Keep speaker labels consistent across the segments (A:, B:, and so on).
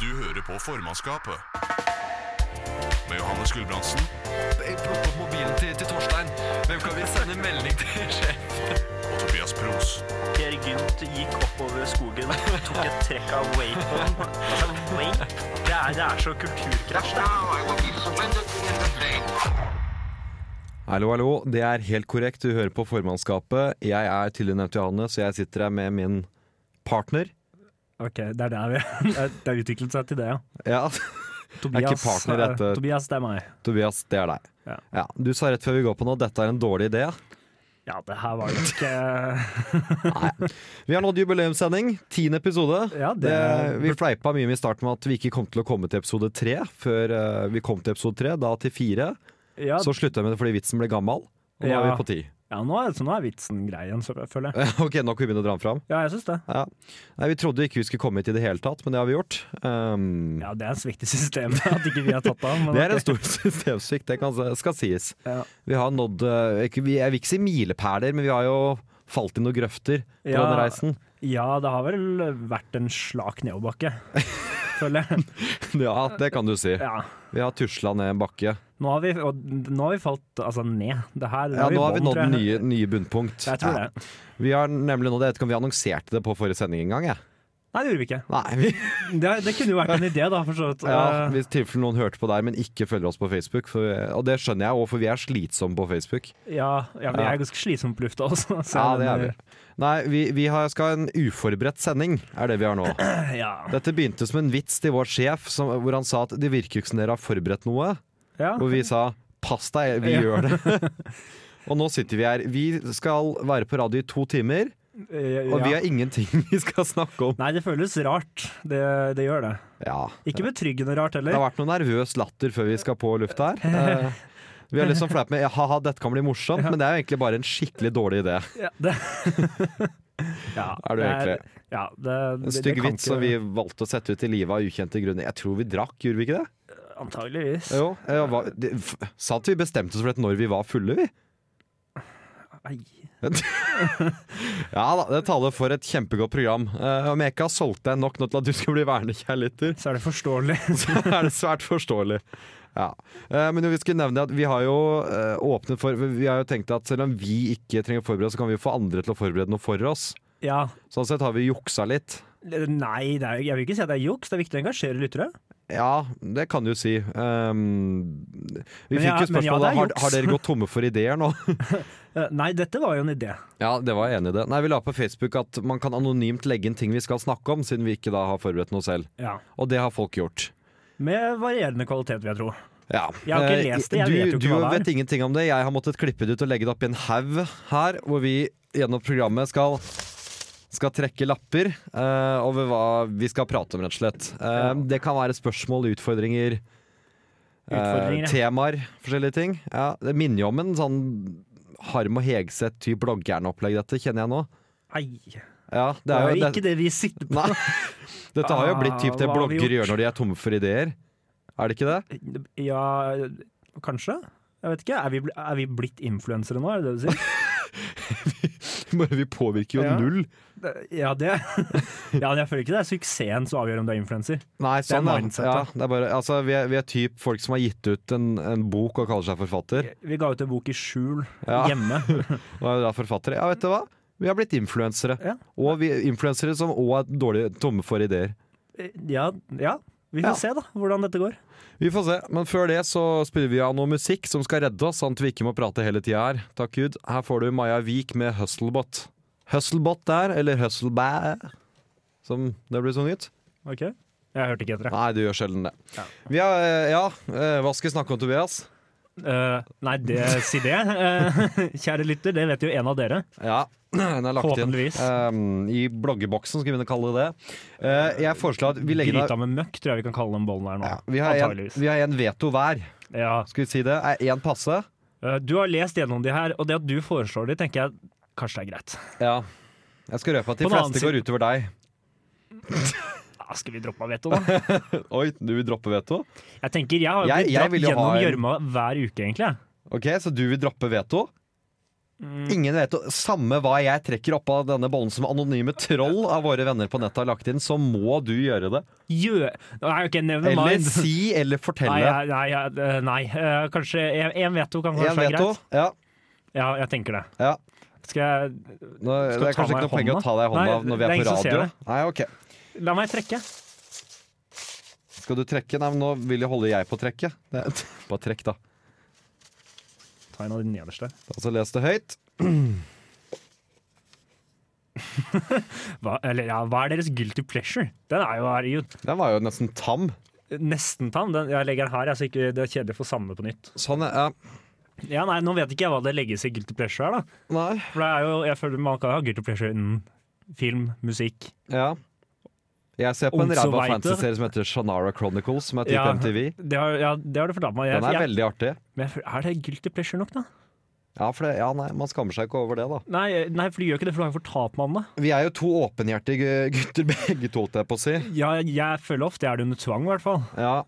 A: Du hører på formannskapet. Med Johannes Gulbrandsen.
B: Plukk opp mobilen til, til Torstein. Hvem kan vi sende melding til? sjef?
A: Og Tobias Pros.
C: Per Gynt gikk oppover skogen, tok et trekk av wapen. Altså, vape? Det er, det er så kulturkrasj, det.
D: Hallo, hallo. Det er helt korrekt. Du hører på formannskapet. Jeg er tidligere nevnt Johannes, og jeg sitter her med min partner.
E: Ok, det er der vi Det har utviklet seg til det, ja.
D: Ja,
E: Tobias,
D: partner
E: eh,
D: dette-
E: Tobias, det er meg.
D: Tobias, det er deg.
E: Ja.
D: Du sa rett før vi går på nå dette er en dårlig idé.
E: Ja, det her var eh, jo ikke
D: Vi har nådd jubileumssending. Tiende episode.
E: Ja, det-
D: vi fleipa mye med i starten med at vi ikke kom til å komme til episode tre før eh, vi kom til episode tre. Da til fire.
E: ja,
D: Så slutta jeg med det fordi vitsen ble gammel. Og nå er
E: Ja.
D: vi på ti.
E: ja, nå er, så nå er vitsen grei igjen, så- føler jeg.
D: ok, nå kan vi begynne å dra den fram.
E: Ja, jeg syns det.
D: Ja. Nei, vi trodde ikke vi skulle komme hit i det hele tatt, men det har vi gjort. Um,
E: Ja, det er en svikt i systemet at ikke vi har tatt av. Men
D: Det er
E: ok.
D: en stor systemsvikt, det kan, skal sies.
E: Ja.
D: Vi har nådd eh, ikke- vi- Jeg vil ikke si milepæler, men vi har jo falt i noen grøfter på
E: Ja.
D: denne reisen.
E: Ja, det har vel vært en slak nedoverbakke, føler jeg.
D: Ja, det kan du si.
E: Ja.
D: Vi har tusla ned en bakke.
E: Nå har vi, og nå har vi falt altså, ned. Det her
D: Ja, nå har vi
E: bånd,
D: nådd
E: tror jeg.
D: nye, nye bunnpunkt.
E: Jeg tror
D: Ja.
E: det.
D: Vi har nemlig nådd Jeg vet ikke om vi annonserte det på forrige sending engang, jeg.
E: Nei, det gjorde vi ikke.
D: Nei, vi,
E: Det, det kunne jo vært en idé, da, for så vidt.
D: ja,
E: Eh,
D: Hvis tilfelle noen hørte på der, men ikke følger oss på Facebook. For, og det skjønner jeg òg, for vi er slitsomme på Facebook.
E: Ja, ja vi er ganske slitsomme på lufta også. så
D: Ja, det er vi.
E: den-
D: Nei, vi, vi har, skal ha en uforberedt sending, er det vi har nå.
E: Ja.
D: Dette begynte som en vits til vår sjef, som, hvor han sa at det virker ikke som dere har forberedt noe.
E: ja.
D: Og vi sa pass deg, vi
E: Ja.
D: gjør det. og nå sitter vi her. Vi skal være på radio i to timer, og vi
E: Eh, ja.
D: har ingenting vi skal snakke om.
E: Nei, det føles rart. Det, det gjør det.
D: Ja,
E: Ikke betryggende rart
D: Det har
E: heller.
D: vært noe nervøs latter før vi skal på lufta her. Eh, Vi har liksom fleipet med ja, ha-ha, dette kan bli morsomt, men det er jo egentlig bare en skikkelig dårlig idé.
E: Ja, det ja,
D: Er du
E: det
D: egentlig?
E: Ja, det,
D: En
E: det, det
D: stygg
E: kan
D: vits
E: ikke-
D: som vi valgte å sette ut i livet av ukjente grunner. Jeg tror vi drakk, gjorde vi ikke det?
E: Antageligvis.
D: Jo, jeg var, det, f sa at vi bestemte oss for dette når vi var fulle, vi.
E: Nei.
D: Ja da, det taler for et kjempegodt program. Eh, om jeg ikke har solgt deg nok nå til at du skal bli vernekjærligheter,
E: Så er det forståelig.
D: så er det svært forståelig. Ja. Eh, men vi skulle nevne at vi har jo eh, åpnet for Vi har jo tenkt at selv om vi ikke trenger å forberede, så kan vi jo få andre til å forberede noe for oss.
E: Ja.
D: Sånn sett har vi juksa litt.
E: Nei, det er, jeg vil ikke si at det er juks. Det er viktig å engasjere lyttere.
D: Ja, det kan du si. Um, vi fikk jo
E: Men ja, men ja,
D: spørsmålet
E: det er
D: har,
E: juks.
D: har dere gått tomme for ideer nå.
E: Eh, Nei, dette var jo en idé.
D: Ja, det var jeg enig i det. Nei, Vi la på Facebook at man kan anonymt legge inn ting vi skal snakke om, siden vi ikke da har forberedt noe selv.
E: Ja.
D: Og det har folk gjort.
E: Med varierende kvalitet, vil jeg tro.
D: Ja.
E: Jeg har ikke
D: Eh,
E: lest det, jeg
D: du,
E: vet jo ikke
D: du
E: hva det er.
D: vet ingenting om det. Jeg har måttet klippe det ut og legge det opp i en haug her, hvor vi gjennom programmet skal skal trekke lapper eh, over hva vi skal prate om, rett og slett. Eh, Det kan være spørsmål, utfordringer, eh,
E: Utfordringer, ja.
D: temaer, forskjellige ting. Ja, det minner jo om en sånn Harm og Hegseth-type bloggeren-opplegg, dette kjenner jeg nå.
E: Nei.
D: Ja,
E: Det er jo
D: det-
E: ikke det vi sitter på.
D: Nei. Dette har jo blitt typ det
E: Ah, hva har vi
D: bloggere gjør når de er tomme for ideer. Er det ikke det?
E: Ja, kanskje? Jeg vet ikke. Er vi, bl- er vi blitt influensere nå, er det det du sier?
D: Bare vi påvirker
E: jo Ja.
D: null.
E: Det- Ja, det Ja, men jeg føler ikke det er suksessen som avgjør om du er influenser.
D: Nei,
E: er
D: sånn, ja.
E: mindsetet.
D: ja det er bare, altså, vi, er, vi er typ folk som har gitt ut en, en bok og kaller seg forfatter.
E: Vi ga ut en bok i skjul
D: Ja.
E: hjemme.
D: Og er da forfattere. Ja, vet du hva? Vi har blitt influensere.
E: Ja.
D: Og vi, influensere som òg er dårlig tomme for ideer.
E: Ja, ja. Vi får
D: Ja.
E: se da, hvordan dette går.
D: Vi får se. Men før det så spiller vi av noe musikk som skal redde oss, sånn at vi ikke må prate hele tida her. Takk Gud. Her får du Maja Vik med Hustlebot. Hustlebot der, eller Hustlebæ, som det blir sunget.
E: Ok? Jeg hørte ikke etter det.
D: Nei, du gjør sjelden det.
E: Ja.
D: Vi har, eh, ja, eh, hva skal vi snakke om, Tobias?
E: Eh, nei, det, si det. Eh, kjære lytter, det vet jo en av dere.
D: Ja, den er lagt inn
E: Forhåpentligvis.
D: ehm, i bloggeboksen, skal vi begynne å kalle det det. Eh, jeg foreslår at vi legger
E: Gryta
D: ned
E: med møkk, tror jeg vi kan kalle den bollen her nå.
D: ja, vi, har en,
E: Antageligvis.
D: vi har en veto hver.
E: Ja.
D: Skal vi si det? Er én passe?
E: Eh, Du har lest gjennom de her, og det at du foreslår de, tenker jeg kanskje det er greit.
D: Ja. Jeg skal røpe at de
E: På den annen
D: fleste går utover deg.
E: Ja, skal vi droppe av veto, da?
D: Oi, du vil droppe veto?
E: Jeg tenker, jeg har jo
D: Jeg-
E: blitt
D: jeg
E: dratt
D: vil jo ha
E: gjennom
D: en-
E: gjørma hver uke, egentlig. jeg.
D: Ok, Så du vil droppe veto?
E: Mm.
D: Ingen vet Samme hva jeg trekker opp av denne bollen som anonyme troll av våre venner på nettet har lagt inn, så må du gjøre det.
E: Gjø... Nei, ok, never
D: Eller
E: mind.
D: si eller
E: Nei,
D: fortelle.
E: jeg- nei, jeg- eh, nei. eh, kanskje en- en veto kan
D: En
E: kanskje være
D: veto.
E: greit.
D: Ja,
E: Ja, jeg tenker det.
D: ja.
E: Skal
D: Nå,
E: Skal
D: det er
E: ta
D: kanskje
E: meg
D: ikke
E: i
D: noe poeng å
E: hånda?
D: ta deg i hånda
E: Nei,
D: når vi
E: det er
D: er på
E: ingen som ser
D: radio.
E: det.
D: Nei, ok.
E: jeg La meg trekke.
D: Skal du trekke? Nei, men nå vil jeg holde jeg på trekket. Det, bare trekk, da.
E: Ta en av de nederste.
D: Altså les det høyt.
E: Hva, eller, ja, hva er deres guilty pleasure? Den er jo, er jo
D: Den var jo nesten tam.
E: nesten tann. Den, jeg legger den her, jeg, så ikke det er kjedelig å få samme på nytt.
D: Sånn, ja.
E: Ja, nei, Nå vet ikke jeg hva det legges i guilty pleasure her, da.
D: Nei.
E: For det er jo, jeg føler Man kan jo ha guilty pleasure innen film, musikk
D: Ja. Jeg ser på en
E: Om så
D: ræva
E: veit det.
D: fantasy-serie som heter Shannara Chronicles, som er type
E: Ja.
D: MTV.
E: Det har, ja, det har du fortalt meg. Jeg,
D: Den er
E: jeg,
D: veldig artig.
E: men jeg føler- er det guilty pleasure nok, da?
D: Ja, for det, ja, nei, man skammer seg ikke over det, da.
E: Nei, nei for du gjør ikke det, for du har jo fortalt meg om det.
D: Vi er jo to åpenhjertige gutter, begge to, holdt jeg på å si.
E: Ja, jeg føler ofte jeg er det under tvang, i hvert fall.
D: Ja,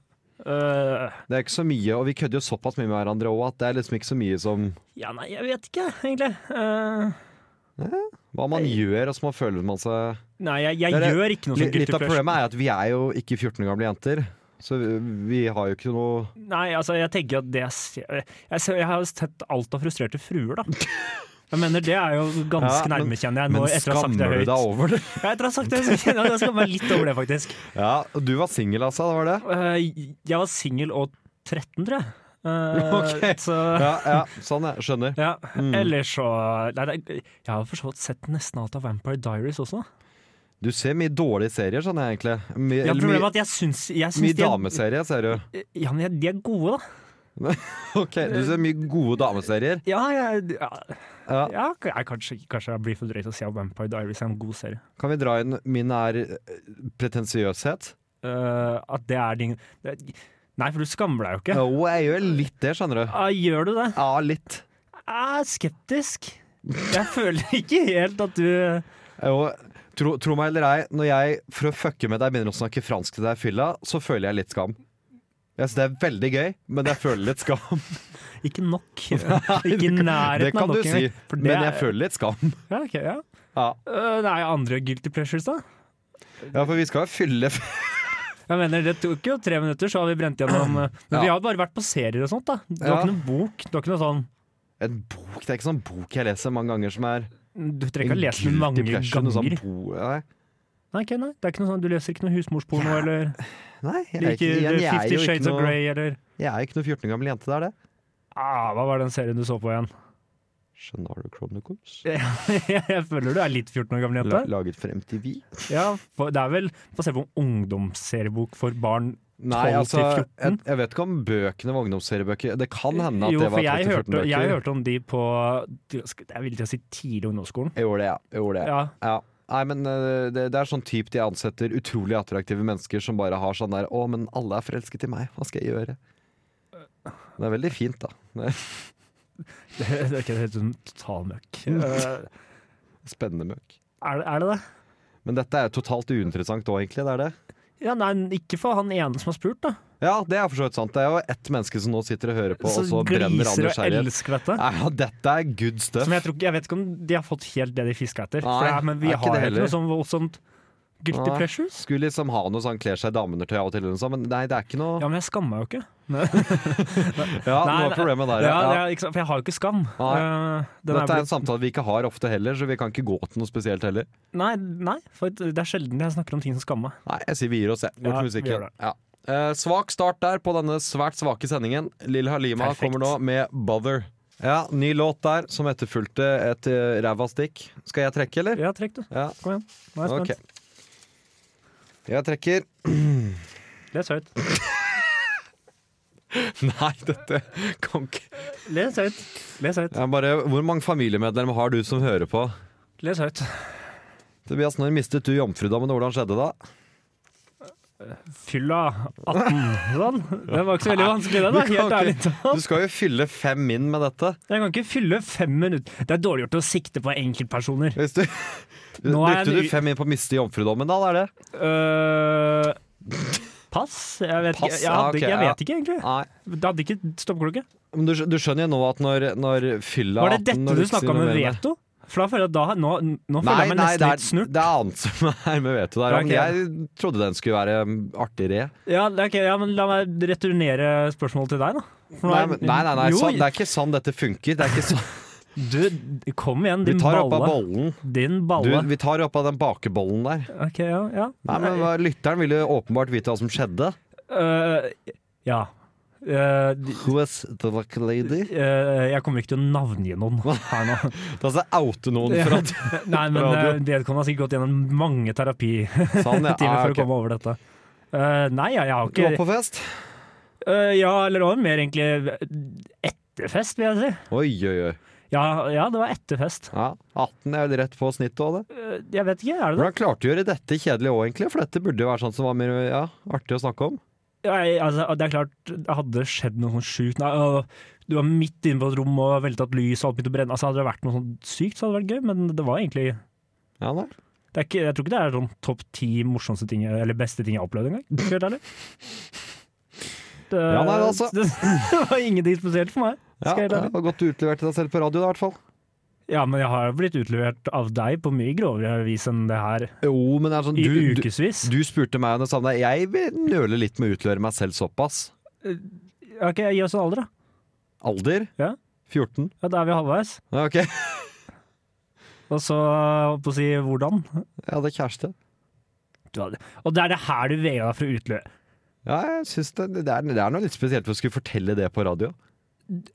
E: Øh,
D: Det er ikke så mye, og vi kødder jo såpass mye med hverandre òg at det er liksom ikke så mye som
E: ja, nei, jeg vet ikke, egentlig. Øh,
D: hva man gjør, og så man føler man seg
E: nei, jeg, jeg
D: Det er-
E: gjør ikke noe som
D: Litt,
E: guilty
D: litt av
E: pleasure.
D: problemet er at vi er jo ikke 14 år gamle jenter, så vi, vi har jo ikke noe
E: Nei, altså, jeg tenker at det jeg ser Jeg, ser, jeg har jo sett alt av frustrerte fruer, da. Jeg mener, Det er jo
D: Ja,
E: ganske
D: men-
E: nærme, kjenner jeg. Nå,
D: Men
E: etter å ha
D: skammer
E: sagt det
D: du
E: høyt.
D: deg over det?
E: Ja, etter å ha sagt det, så kjenner jeg at jeg skammer meg litt over det, faktisk.
D: Ja, og du var singel, altså, det var det?
E: Eh, jeg var singel og 13, tror jeg. Eh,
D: Ok. Mm.
E: Så
D: Ja, ja, sånn, jeg skjønner.
E: ja. Eller så nei, nei, Jeg har for så vidt sett nesten alt av Vampire Diaries også.
D: Du ser mye dårlige serier, sånn egentlig. My,
E: Ja,
D: eller
E: problemet er
D: mye
E: at jeg syns, jeg syns
D: mye
E: de,
D: dameserier, ser du.
E: er, ja, men jeg- de er gode, da.
D: Ok, Du ser mye gode dameserier.
E: Ja, jeg, ja,
D: Ja.
E: ja, k- jeg, kanskje, kanskje jeg blir for drøy til å si at Vampire Diaries er en god serie.
D: Kan vi dra inn min er eh, pretensiøshet?
E: Eh, at det er din det, Nei, for du skammer deg jo ikke.
D: Jo, jeg gjør litt det, skjønner du.
E: Ah, gjør du det?
D: Ja, litt.
E: Jeg er skeptisk. Jeg føler ikke helt at du
D: Jo, Eh, tro, tro meg eller ei, når jeg for å fucke med deg begynner å snakke fransk til deg i fylla, så føler jeg litt skam. Jeg synes det er veldig gøy, men jeg føler litt skam.
E: Ikke nok. Ikke i
D: Det
E: nærheten av
D: kan
E: nok.
D: du si,
E: engang, for det
D: men
E: er-
D: jeg føler litt skam.
E: Ja, ok, ja.
D: Ja,
E: Øh, det er jo andre guilty pleasures, da.
D: ja for vi skal jo fylle
E: Jeg mener, Det tok jo tre minutter, så har vi brent gjennom øh, Men vi
D: Ja.
E: har bare vært på serier og sånt, da. Det var
D: Ja.
E: ikke noen bok. Det var ikke noe sånn
D: en bok. Det er ikke sånn bok jeg leser mange ganger som er
E: Du trenger ikke å lese den
D: guilty
E: mange
D: pleasure, noe sånn
E: ganger.
D: bo- nei.
E: Nei, ok, nei, det er ikke noe sånn, Du leser ikke noe husmorsporno eller
D: Nei, jeg er, ikke,
E: liker
D: igjen, jeg, er
E: Fifty
D: jo ikke
E: Shades of
D: noe,
E: Grey eller
D: jeg er jo ikke noe 14 år gammel jente, det er det.
E: ah, Hva var den serien du så på igjen?
D: Shannara Chronicles.
E: Jeg føler du er litt 14 år
D: La,
E: gammel jente.
D: laget for MTV.
E: Ja, for, det er vel basert på en ungdomsseriebok for barn
D: Nei,
E: 12
D: altså,
E: til
D: jeg,
E: 14?
D: jeg vet ikke om bøkene var ungdomsseriebøker. Det kan hende at
E: jo,
D: det var
E: for jeg
D: 13-14
E: hørte,
D: bøker.
E: jeg hørte om de på Jeg vil ikke si tidlig ungdomsskolen.
D: Jeg gjorde det, ja. Jeg gjorde det.
E: Ja,
D: Ja. Nei, men eh, det, det er sånn type de ansetter utrolig attraktive mennesker som bare har sånn der 'Å, men alle er forelsket i meg. Hva skal jeg gjøre?' Det er veldig fint, da. Det er
E: det er ikke helt sånn total møkk. Eh,
D: Spennende møkk.
E: Er, det- er det det?
D: Men dette er jo totalt uinteressant òg, egentlig. Det er det.
E: Ja, nei, ikke for han ene som har spurt, da.
D: Ja, det er for så vidt sant. Det er jo ett menneske som nå sitter og hører på, og så
E: Som
D: brenner
E: gliser
D: Anders
E: og
D: Herjer.
E: elsker dette.
D: Nei, Ja, dette er good stuff.
E: Som jeg, tror, ikke- jeg vet ikke om de har fått helt det de fisker etter.
D: Nei,
E: for det er, men vi
D: er ikke
E: har
D: det
E: ikke
D: heller.
E: noe sånn voldsomt guilty
D: Nei.
E: pleasures.
D: Skulle liksom ha noe sånn kler seg i dameundertøy av og til, eller noe sånt, men nei, det er ikke noe
E: Ja, men jeg skammer meg jo ikke.
D: Ja,
E: Nei,
D: det var
E: nei,
D: problemet der, ja.
E: ja, det er ikke sant, for jeg har jo ikke skam. Eh, den er
D: Dette er
E: blitt-
D: en samtale vi ikke har ofte heller, så vi kan ikke gå til noe spesielt heller.
E: nei, nei, for det er sjelden jeg snakker om ting som skammer meg.
D: Nei, jeg sier vi gir oss, jeg. Bort
E: Ja,
D: til
E: vi
D: musikken.
E: gjør det.
D: Ja. Eh, svak start der på denne svært svake sendingen. Lill Halima
E: Perfekt.
D: kommer nå med 'Bother'. Ja, Ny låt der som etterfulgte et eh, ræva stikk. Skal jeg trekke, eller?
E: Ja, trekk du.
D: Ja,
E: Kom igjen. Nå er jeg
D: ok
E: spent.
D: Jeg trekker.
E: Les høyt.
D: Nei, dette kan ikke
E: Les høyt. Les høyt.
D: Jeg bare, Hvor mange familiemedlemmer har du som hører på?
E: Les høyt.
D: Tobias, når mistet du jomfrudommen? Hvordan skjedde det?
E: Fylla 18. Sånn. Det var ikke så veldig vanskelig, det. da,
D: Du kan
E: Helt ærlig
D: ikke-
E: talt.
D: Du skal jo fylle fem min med dette.
E: Jeg kan ikke fylle fem minutter. Det er dårlig gjort å sikte på enkeltpersoner.
D: Hvis du,
E: Nå er
D: brukte
E: jeg-
D: du fem inn på å miste jomfrudommen, da? Det er det.
E: Øh, Eh, Pass? Jeg vet,
D: Pass,
E: Ikke, jeg,
D: ja,
E: hadde,
D: ok,
E: jeg
D: ja.
E: vet ikke, egentlig.
D: Nei.
E: Det hadde ikke stoppeklokke.
D: Men du, skj- du skjønner jo nå at når, når fylla
E: Var det
D: 18,
E: dette
D: når
E: du
D: ikke sier noe
E: snakka om med
D: mer det-
E: veto? For da føler jeg at da, nå, nå føler
D: Nei,
E: jeg meg
D: nei, det
E: nesten
D: er,
E: litt snurt.
D: det er annet som er med veto der.
E: Ja,
D: men
E: ok.
D: Jeg trodde den skulle være mm, artigere.
E: Ja, det er ok, ja, men la meg returnere spørsmålet til deg, da. For nå
D: Nei,
E: er-
D: men- nei, nei, nei
E: Jo,
D: sånn, det er ikke sånn dette funker. Det er ikke sånn.
E: Du, kom igjen,
D: Vi
E: din
D: tar opp
E: balle.
D: av bollen. Du,
E: Din balle.
D: vi tar opp av den bakebollen der.
E: Ok, ja. Ja.
D: Nei, men hva- Lytteren ville jo åpenbart vite hva som skjedde.
E: Øh, ja. Øh, de-
D: Who is the lucky lady?
E: øh, jeg kommer ikke til å navngi noen her nå.
D: Da skal jeg oute noen
E: Ja.
D: for at
E: Nei, men
D: Radio.
E: øh, vedkommende har sikkert gått gjennom mange terapitimer
D: Sånn, ja. Ah,
E: for å
D: ok.
E: komme over dette. Øh, nei, jeg, jeg har
D: Du var
E: ikke
D: på fest?
E: Øh, Ja, eller det var mer egentlig etterfest, vil jeg si.
D: Oi, oi, oi.
E: Ja, ja det var etterfest.
D: Ja, 18 er jo rett på snittet òg, det.
E: Øh, jeg vet ikke, er det det?
D: Hvordan klarte du å gjøre dette kjedelig òg, egentlig? For dette burde jo være sånn som var mer ja, artig å snakke om.
E: Nei, altså, det er klart, det hadde skjedd noe sånn sjukt. Nei, øh, du var midt inne på et rom og veltet opp lys og alt begynte å brenne. Altså, hadde det vært noe sånn sykt, så hadde det vært gøy, men det var egentlig
D: Ja, nei.
E: det er ikke, Jeg tror ikke det er sånn topp ti morsomste ting, eller beste ting jeg har opplevd engang. skal jeg være ærlig. Det,
D: Ja, nei, altså.
E: det, det var ingenting spesielt for meg.
D: Ja,
E: Skal jeg
D: det
E: være ærlig.
D: var godt du utleverte deg selv på radio, da, i hvert fall.
E: Ja, men jeg har blitt utlevert av deg på mye grovere vis enn det her
D: Jo, men det er sånn
E: i
D: du, du,
E: ukevis.
D: du spurte meg om det samme. Jeg vil nøle litt med å utlevere meg selv såpass.
E: Ok, Gi oss en alder, da.
D: Alder?
E: Ja.
D: 14?
E: Ja, Da er vi halvveis.
D: Ja, ok.
E: Og så, holdt på å si, hvordan?
D: Jeg hadde kjæreste.
E: Du hadde. Og det er det her du veier deg for å utløse.
D: Ja, jeg synes det, det, er, det er noe litt spesielt for å skulle fortelle det på radio.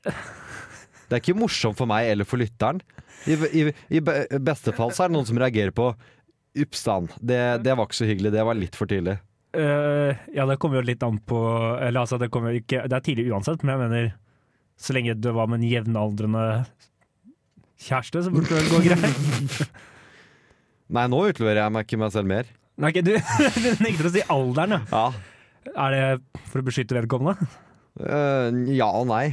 D: Det er ikke morsomt for meg eller for lytteren. I, i, i be- beste fall så er det noen som reagerer på Uppstand, det, det var ikke så hyggelig, det var litt for tidlig.
E: Eh, ja, det kommer jo litt an på Eller altså, det kommer jo ikke Det er tidlig uansett, men jeg mener Så lenge du var med en jevnaldrende kjæreste, så burde det vel gå greit.
D: Nei, nå utleverer jeg meg ikke meg selv mer.
E: Nei, ok, du, du nekter å si alderen, ja.
D: Ja,
E: Er det for å beskytte vedkommende?
D: Øh, ja og nei.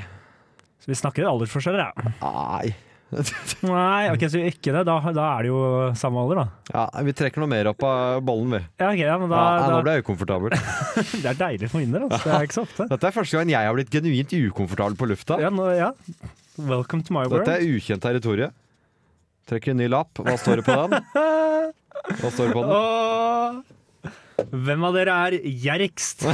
E: Så vi snakker aldersforskjeller, ja.
D: Nei.
E: Nei, ok, så ikke det. Da, da er det jo samme alder, da.
D: Ja, vi trekker noe mer opp av bollen, vi.
E: Ja, ok, ja, men
D: Ja,
E: da,
D: nei, nå
E: da
D: ble jeg ukomfortabel.
E: Det er deilig for min del, altså. Det er ikke så ofte.
D: Dette er første gang jeg har blitt genuint ukomfortabel på lufta.
E: Ja, nå, ja. Welcome to my world.
D: Dette er ukjent territorium. Trekker en ny lapp. Hva står det på den? Hva står det på den?
E: Åh. Hvem av dere er gjerrigst?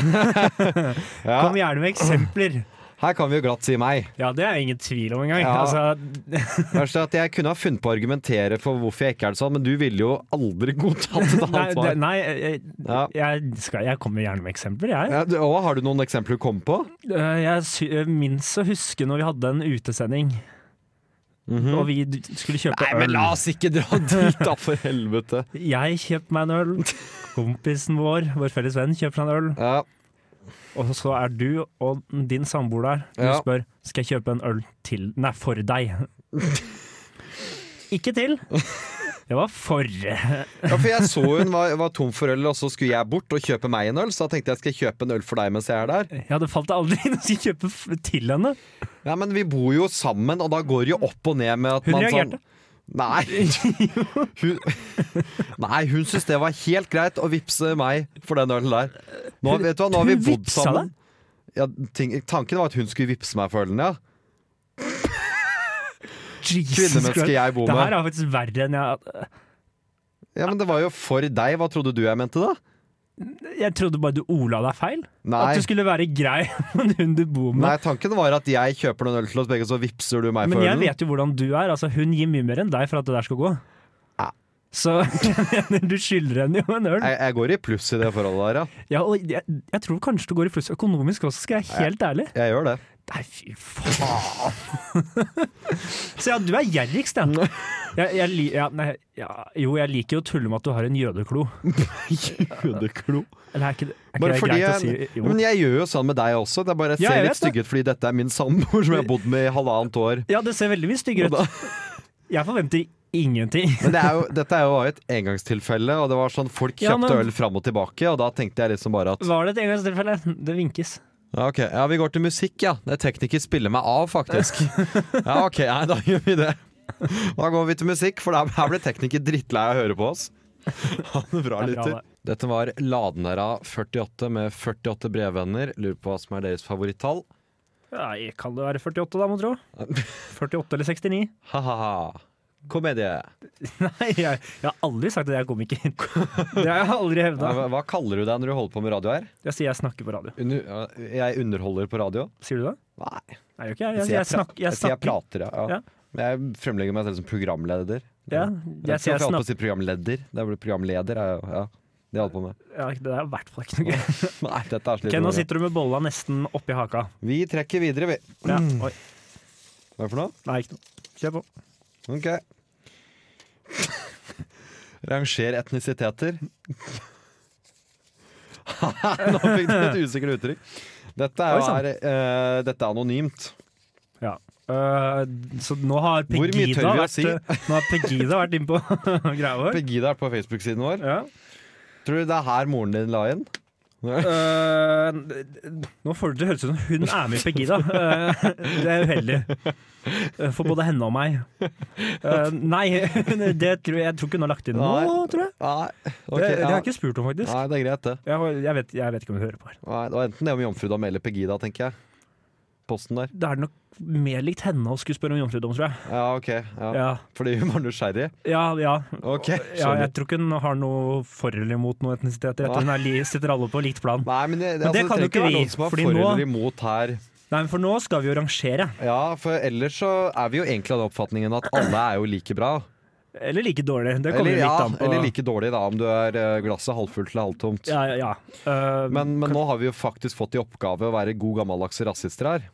D: Ja,
E: Kom gjerne med eksempler.
D: her kan vi jo glatt si meg.
E: Ja, det er ingen tvil om engang.
D: Ja.
E: Altså,
D: Verst er at Jeg kunne ha funnet på å argumentere for hvorfor jeg ikke er det sånn, men du ville jo aldri godtatt et
E: nei,
D: annet
E: det,
D: svar.
E: nei jeg,
D: Ja.
E: jeg, skal, jeg kommer gjerne med eksempler, jeg.
D: Ja, du, og har du noen eksempler du kom på?
E: Eh, Jeg sy- eh, minnes å huske når vi hadde en utesending,
D: Mhm.
E: og vi d- skulle kjøpe
D: Nei, men
E: øl.
D: la oss ikke dra dit, da, for helvete.
E: Jeg kjøpte meg en øl. Kompisen vår, vår felles venn, kjøper seg en øl.
D: Ja,
E: Og så er du og din samboer der. Du
D: Ja.
E: spør skal jeg kjøpe en øl til Nei, for deg. Ikke til. Det var for.
D: ja for jeg så hun var, var tom for øl, og så skulle jeg bort og kjøpe meg en øl, så da tenkte jeg skal jeg kjøpe en øl for deg mens jeg er der.
E: Ja, det falt deg aldri inn å skulle kjøpe f- til henne.
D: Ja, men vi bor jo sammen, og da går det jo opp og ned med at
E: Hun
D: man
E: reagerte.
D: Sånn, nei. Hun, nei, hun syntes det var helt greit å vippse meg for den ølen der. Nå, vet du hva, nå har vi
E: Hun
D: bodd
E: vipsa
D: sammen. Ja, ting, tanken var at hun skulle vippse meg for ølen, ja.
E: Jesus
D: Kvinnemennesket
E: Christ.
D: jeg bor
E: Det her
D: med.
E: er faktisk verre enn jeg
D: Ja, Men det var jo for deg. Hva trodde du jeg mente, da?
E: Jeg trodde bare du ola deg feil. At
D: Nei.
E: du skulle være grei med hun du bor med.
D: Nei, tanken var at jeg kjøper noen øl til oss begge, så vippser du meg
E: Men
D: for
E: jeg
D: ølen.
E: vet jo hvordan du er. Altså, hun gir mye mer enn deg for at det der skal gå.
D: Ja.
E: Så jeg mener, du skylder henne jo en øl.
D: Jeg, jeg går i pluss i det forholdet der, ja.
E: Ja, og jeg, jeg tror kanskje det går i pluss økonomisk også, skal jeg være helt ærlig.
D: Jeg gjør det.
E: Nei, fy faen! Så ja, du er gjerrigst, ja. Jeg, jeg, li- ja, nei, ja. Jo, jeg liker jo å tulle med at du har en jødeklo.
D: Jødeklo.
E: Eller er ikke, det- er ikke
D: Bare
E: det
D: fordi
E: greit
D: jeg,
E: å si? Jo.
D: Men jeg gjør jo sånn med deg også. Det er bare Jeg
E: Ja,
D: ser
E: jeg
D: litt
E: vet
D: stygg ut fordi dette er min samboer som jeg har bodd med i halvannet år.
E: Ja, det ser veldig mye styggere
D: Og da,
E: ut. Jeg forventer ingenting.
D: men det er jo, dette er jo bare et engangstilfelle, og det var sånn folk kjøpte
E: Ja, men-
D: øl fram og tilbake, og da tenkte jeg liksom bare at
E: Var det et engangstilfelle? Det vinkes.
D: ja, OK, ja, vi går til musikk, ja. Det er tekniker spiller meg av, faktisk. Ja, OK, ja, da gjør vi det. Da går vi til musikk, for der- her ble tekniker drittlei av å høre på oss. Ha det bra,
E: Det er bra,
D: lytter.
E: det.
D: Dette var Ladenera 48 med 48 brevvenner. Lurer på hva som er deres favorittall.
E: Nei, kan det være 48 da, må tro? 48 eller 69?
D: Ha-ha-ha. Komedie.
E: Nei, jeg, jeg har aldri sagt at jeg er komiker. Det har jeg aldri
D: Ja,
E: hevda.
D: Hva hva kaller du deg når du holder på med radio her?
E: Jeg sier jeg snakker på radio.
D: Under, ja, jeg underholder på radio?
E: Sier du det?
D: Nei.
E: Nei, gjør ikke jeg.
D: Jeg
E: Jeg,
D: sier
E: jeg,
D: pra-
E: snakker, jeg
D: sier jeg
E: snakker.
D: prater, ja.
E: Ja.
D: ja. Men Jeg fremlegger meg selv som programleder.
E: Ja, jeg sier
D: jeg holdt
E: jeg
D: på å
E: snakker.
D: si programleder. Det er vel programleder, er jo- ja. Det jeg holder på med.
E: Ja, det er i hvert fall ikke noe gøy.
D: Nei, dette er
E: Ok,
D: slitsomt.
E: nå sitter du med bolla nesten oppi haka.
D: Vi trekker videre, vi.
E: Ja, oi.
D: Hva er det for noe?
E: Nei, ikke noe. Kjør på.
D: Ok. Ranger etnisiteter. Nå fikk du et usikkert uttrykk. Dette er,
E: Oi,
D: jo
E: sann.
D: her, eh, dette er anonymt.
E: Ja. Øh, så nå har
D: Hvor mye
E: Pegida
D: tør vi å
E: vært, eh,
D: si?
E: nå har Pegida vært innpå greia vår.
D: Pegida er på Facebook-siden vår.
E: Ja.
D: Tror du det er her moren din la inn?
E: Øh, nå får det til å høres ut som hun er med i Pegida. Øh, det er uheldig. Øh, For både henne og meg. Øh, nei, det tror jeg, jeg tror ikke hun har lagt inn
D: Nei.
E: nå, tror jeg.
D: Nei, ok,
E: det, det har
D: ja.
E: jeg ikke spurt om, faktisk.
D: Nei, det er greit, det.
E: Jeg, har- jeg, vet, jeg vet ikke om hun hører på her.
D: Nei, det var enten det om Jomfrudam eller Pegida, tenker jeg. Posten der.
E: Det er nok mer likt henne å skulle spørre om jomfrudom, tror jeg.
D: Ja, ok. Ja.
E: Ja,
D: Fordi hun var nysgjerrig?
E: ja. ja.
D: Ok,
E: Ja,
D: skjønner.
E: jeg tror ikke hun har noe for eller imot noen etnisiteter. Jeg tror hun er li, sitter alle på likt plan.
D: Nei, men det,
E: Men det
D: altså,
E: kan jo
D: trenger
E: ikke
D: være
E: vi,
D: noen som har
E: fordi
D: for
E: nå-
D: eller imot her.
E: Nei, men for nå skal vi jo rangere.
D: Ja, for ellers så er vi jo egentlig av den oppfatningen at alle er jo like bra.
E: Eller like dårlig. Det kommer
D: Eller,
E: jo litt
D: ja,
E: an på.
D: eller like dårlig, da, om du er eh, glasset halvfullt eller halvtomt.
E: ja, ja, ja. Eh,
D: Men, men nå har vi jo faktisk fått i oppgave å være god gammeldagse rasister her.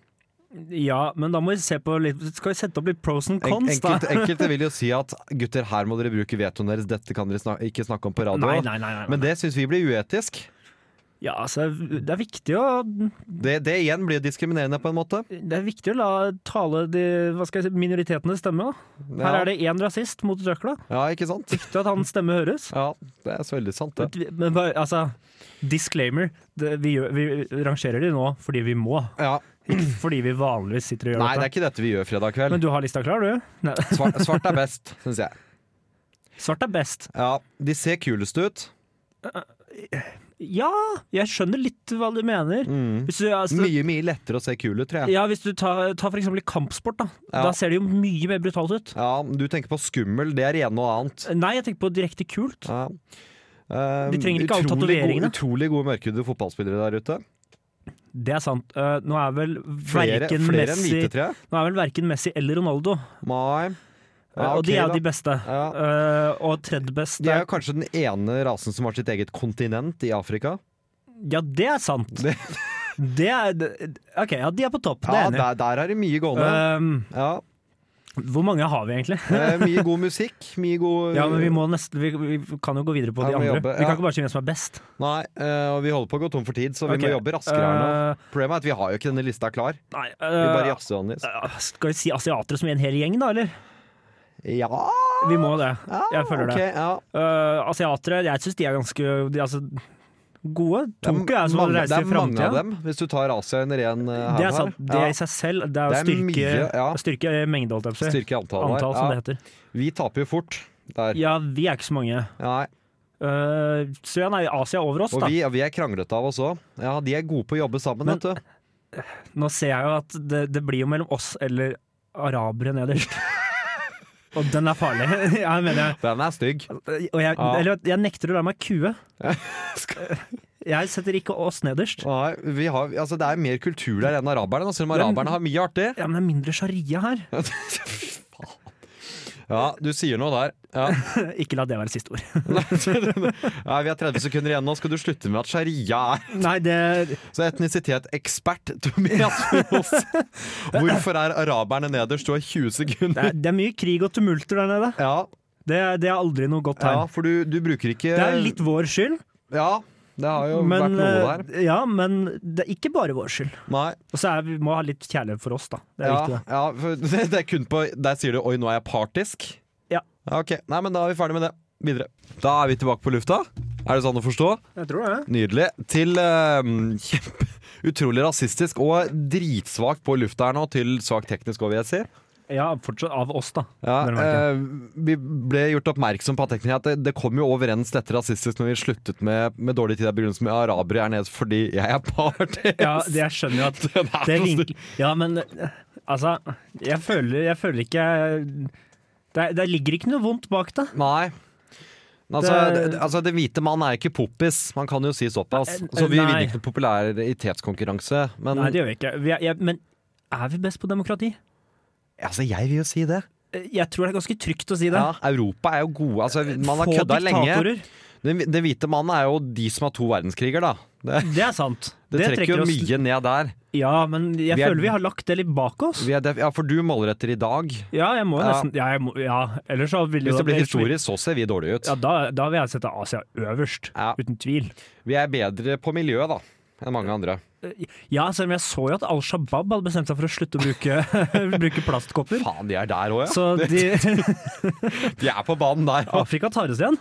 E: ja, men da må vi se på litt Skal vi sette opp litt pros and
D: En,
E: cons, da?
D: enkelte, enkelte vil jo si at gutter, her må dere bruke vetoen deres, dette kan dere snak ikke snakke om på radio.
E: Nei, nei, nei. nei, nei.
D: Men det syns vi blir uetisk.
E: Ja, altså, det er viktig å
D: Det, det igjen blir diskriminerende på en måte.
E: Det er viktig å la tale de hva skal jeg si, minoritetene stemme. Da. Her
D: Ja.
E: er det én rasist mot Røkla.
D: Ja, ikke sant?
E: Viktig at hans stemme høres.
D: Ja, det er så veldig sant, det.
E: Men bare, altså Disclaimer. Det, vi, gjør, vi rangerer de nå fordi vi må.
D: Ja.
E: Ikke fordi vi vanligvis sitter og gjør
D: Nei, det er
E: dette.
D: ikke dette vi gjør fredag kveld.
E: Men du har lista klar, du? Nei.
D: Svart, svart er best, syns jeg.
E: Svart er best.
D: Ja, De ser kulest ut.
E: Ja, jeg skjønner litt hva du mener. Hvis du, altså,
D: Mm. Mye mye lettere å se kul ut, tror jeg.
E: ja, hvis du tar, tar for eksempel i kampsport, da.
D: Ja.
E: Da ser det jo mye mer brutalt ut.
D: Ja, Du tenker på skummel, det er ene og annet.
E: Nei, jeg tenker på direkte kult.
D: Ja. Eh,
E: De trenger ikke alle
D: utrolig
E: tatoveringene.
D: gode- Utrolig gode mørkhudede fotballspillere der ute.
E: Det er sant. Eh, nå er vel
D: Flere,
E: verken
D: flere enn
E: Messi,
D: hvite, tror jeg.
E: nå er vel verken Messi eller Ronaldo,
D: Nei.
E: Eh, og de er jo
D: ok,
E: de
D: da.
E: beste.
D: Ja.
E: Eh, og tredje best
D: De er
E: er
D: jo kanskje den ene rasen som har sitt eget kontinent i Afrika.
E: Ja, det er sant. Det,
D: Det-
E: er OK, ja, de er på topp. Det
D: Ja,
E: er jeg enig.
D: der, der er det mye
E: i.
D: gående.
E: Eh,
D: Ja,
E: hvor mange har vi egentlig?
D: Eh, Mye god musikk. Mye god
E: Ja, men vi, må nesten, vi, vi kan jo gå videre på
D: Ja,
E: de
D: vi må
E: andre.
D: jobbe,
E: Vi
D: ja.
E: kan ikke bare si hvem som er best.
D: Nei, eh, og vi holder på å gå tom for tid, så vi
E: Ok,
D: må jobbe raskere her nå.
E: eh,
D: Problemet er at vi har jo ikke denne lista klar.
E: Nei,
D: Vi
E: eh,
D: bare jazzer, Johannes.
E: eh, Skal vi si asiatere som en hel gjeng, da, eller? Øh.
D: Ja
E: Vi må det. Jeg føler
D: Ah, ok,
E: det.
D: ja.
E: Eh, asiatere, jeg syns de er ganske de, er altså, gode.
D: Det
E: Tokyo er som å
D: mange-
E: reise i
D: Det er mange av
E: framtida.
D: dem, hvis du tar Asia under én her.
E: Det er sant. Det
D: Ja.
E: i seg selv det er å
D: Det er
E: styrke,
D: mye, ja.
E: styrke mengde, holdt jeg på å si.
D: Styrke antallet
E: Antall, som
D: her. Ja.
E: det heter.
D: Vi taper jo fort der.
E: Ja, vi er ikke så mange.
D: Nei.
E: Eh, så ja, nei, Asia er over oss,
D: Og
E: da.
D: vi, ja, vi er kranglete av oss òg. Ja, de er gode på å jobbe sammen,
E: Men-
D: vet du.
E: Nå ser jeg jo at det, det blir jo mellom oss eller arabere nederst. Og den er farlig. Jeg mener jeg
D: Den er stygg.
E: Og jeg,
D: Ja.
E: eller, jeg nekter å la meg kue. Eh, Jeg setter ikke oss nederst.
D: Nei, vi har, altså, det er mer kultur der enn araberne, og selv om
E: Men-
D: araberne har mye artig.
E: Ja, men det er mindre sharia her.
D: Ja, du sier noe der. Ja.
E: Ikke la det være siste ord.
D: Nei, vi har 30 sekunder igjen nå. Skal du slutte med at sharia er
E: Nei, det
D: Så etnisitet-ekspert Tobias Foss. Hvorfor er araberne nederst? Du har 20
E: det
D: sekunder.
E: er, det er mye krig og tumulter der nede.
D: Ja,
E: Det, er- det er aldri noe godt
D: ja
E: tegn.
D: for du, du bruker ikke
E: Det er litt vår skyld,
D: Ja, det har jo vært
E: men,
D: noe der.
E: eh, ja, men det er ikke bare vår skyld.
D: Nei.
E: Og så er, vi må ha litt kjærlighet for oss, da. Det er
D: Ja,
E: viktig, det.
D: ja, for det det er kun på Der sier du 'oi, nå er jeg partisk'?
E: Ja.
D: Ok, Nei, men da er vi ferdig med det. Videre. Da er vi tilbake på lufta. Er det sånn å forstå?
E: Jeg tror det.
D: Nydelig. Til eh, kjempe Utrolig rasistisk og dritsvakt på lufta her nå, til svakt teknisk òg, vil jeg si.
E: Ja, fortsatt av oss, da.
D: Ja,
E: vel å merke.
D: eh, vi ble gjort oppmerksom på at teknikere at det, det kom jo overens dette rasistisk når vi sluttet med, med dårlig tid av begrunnelse med arabere er nede fordi jeg er party.
E: ja, det- jeg skjønner jo at
D: Den er altså-
E: det
D: så
E: link, Ja, men eh, altså Jeg styr- føler, jeg føler ikke det, er- det ligger ikke noe vondt bak det.
D: Nei. Altså, det,
E: Det-
D: altså, den hvite mann er ikke poppis. Man kan jo si såpass.
E: Nei,
D: Så vi
E: nei.
D: vinner ikke noen popularitetskonkurranse. Men
E: Nei, det gjør vi ikke. Vi er, jeg, men er vi best på demokrati?
D: altså, jeg vil jo si det.
E: Eh, Jeg tror det er ganske trygt å si det.
D: Ja, Europa er jo gode. Altså, man har
E: Eh, Få
D: kødda lenge.
E: diktatorer.
D: Den, den hvite mannen er jo de som har to verdenskriger, da. Det,
E: Det er sant.
D: det, trekker jo
E: oss-
D: mye ned der.
E: Ja, men jeg
D: Vi er-
E: føler vi har lagt det litt bak oss.
D: Vi er def- ja, for du måler etter i dag.
E: Ja, jeg må jo
D: Ja.
E: nesten Ja, jeg må, ja. ellers så ville
D: Hvis
E: jo-
D: det blir historisk, så ser vi dårlige ut.
E: Ja, da, da vil jeg sette Asia øverst.
D: Ja.
E: Uten tvil.
D: Vi er bedre på miljø da, enn mange andre.
E: Eh, Ja, selv om jeg så jo at Al Shabaab hadde bestemt seg for å slutte å bruke, bruke plastkopper.
D: Faen, de er der òg, ja.
E: Så de,
D: De er på banen der. og
E: Afrika tar oss igjen.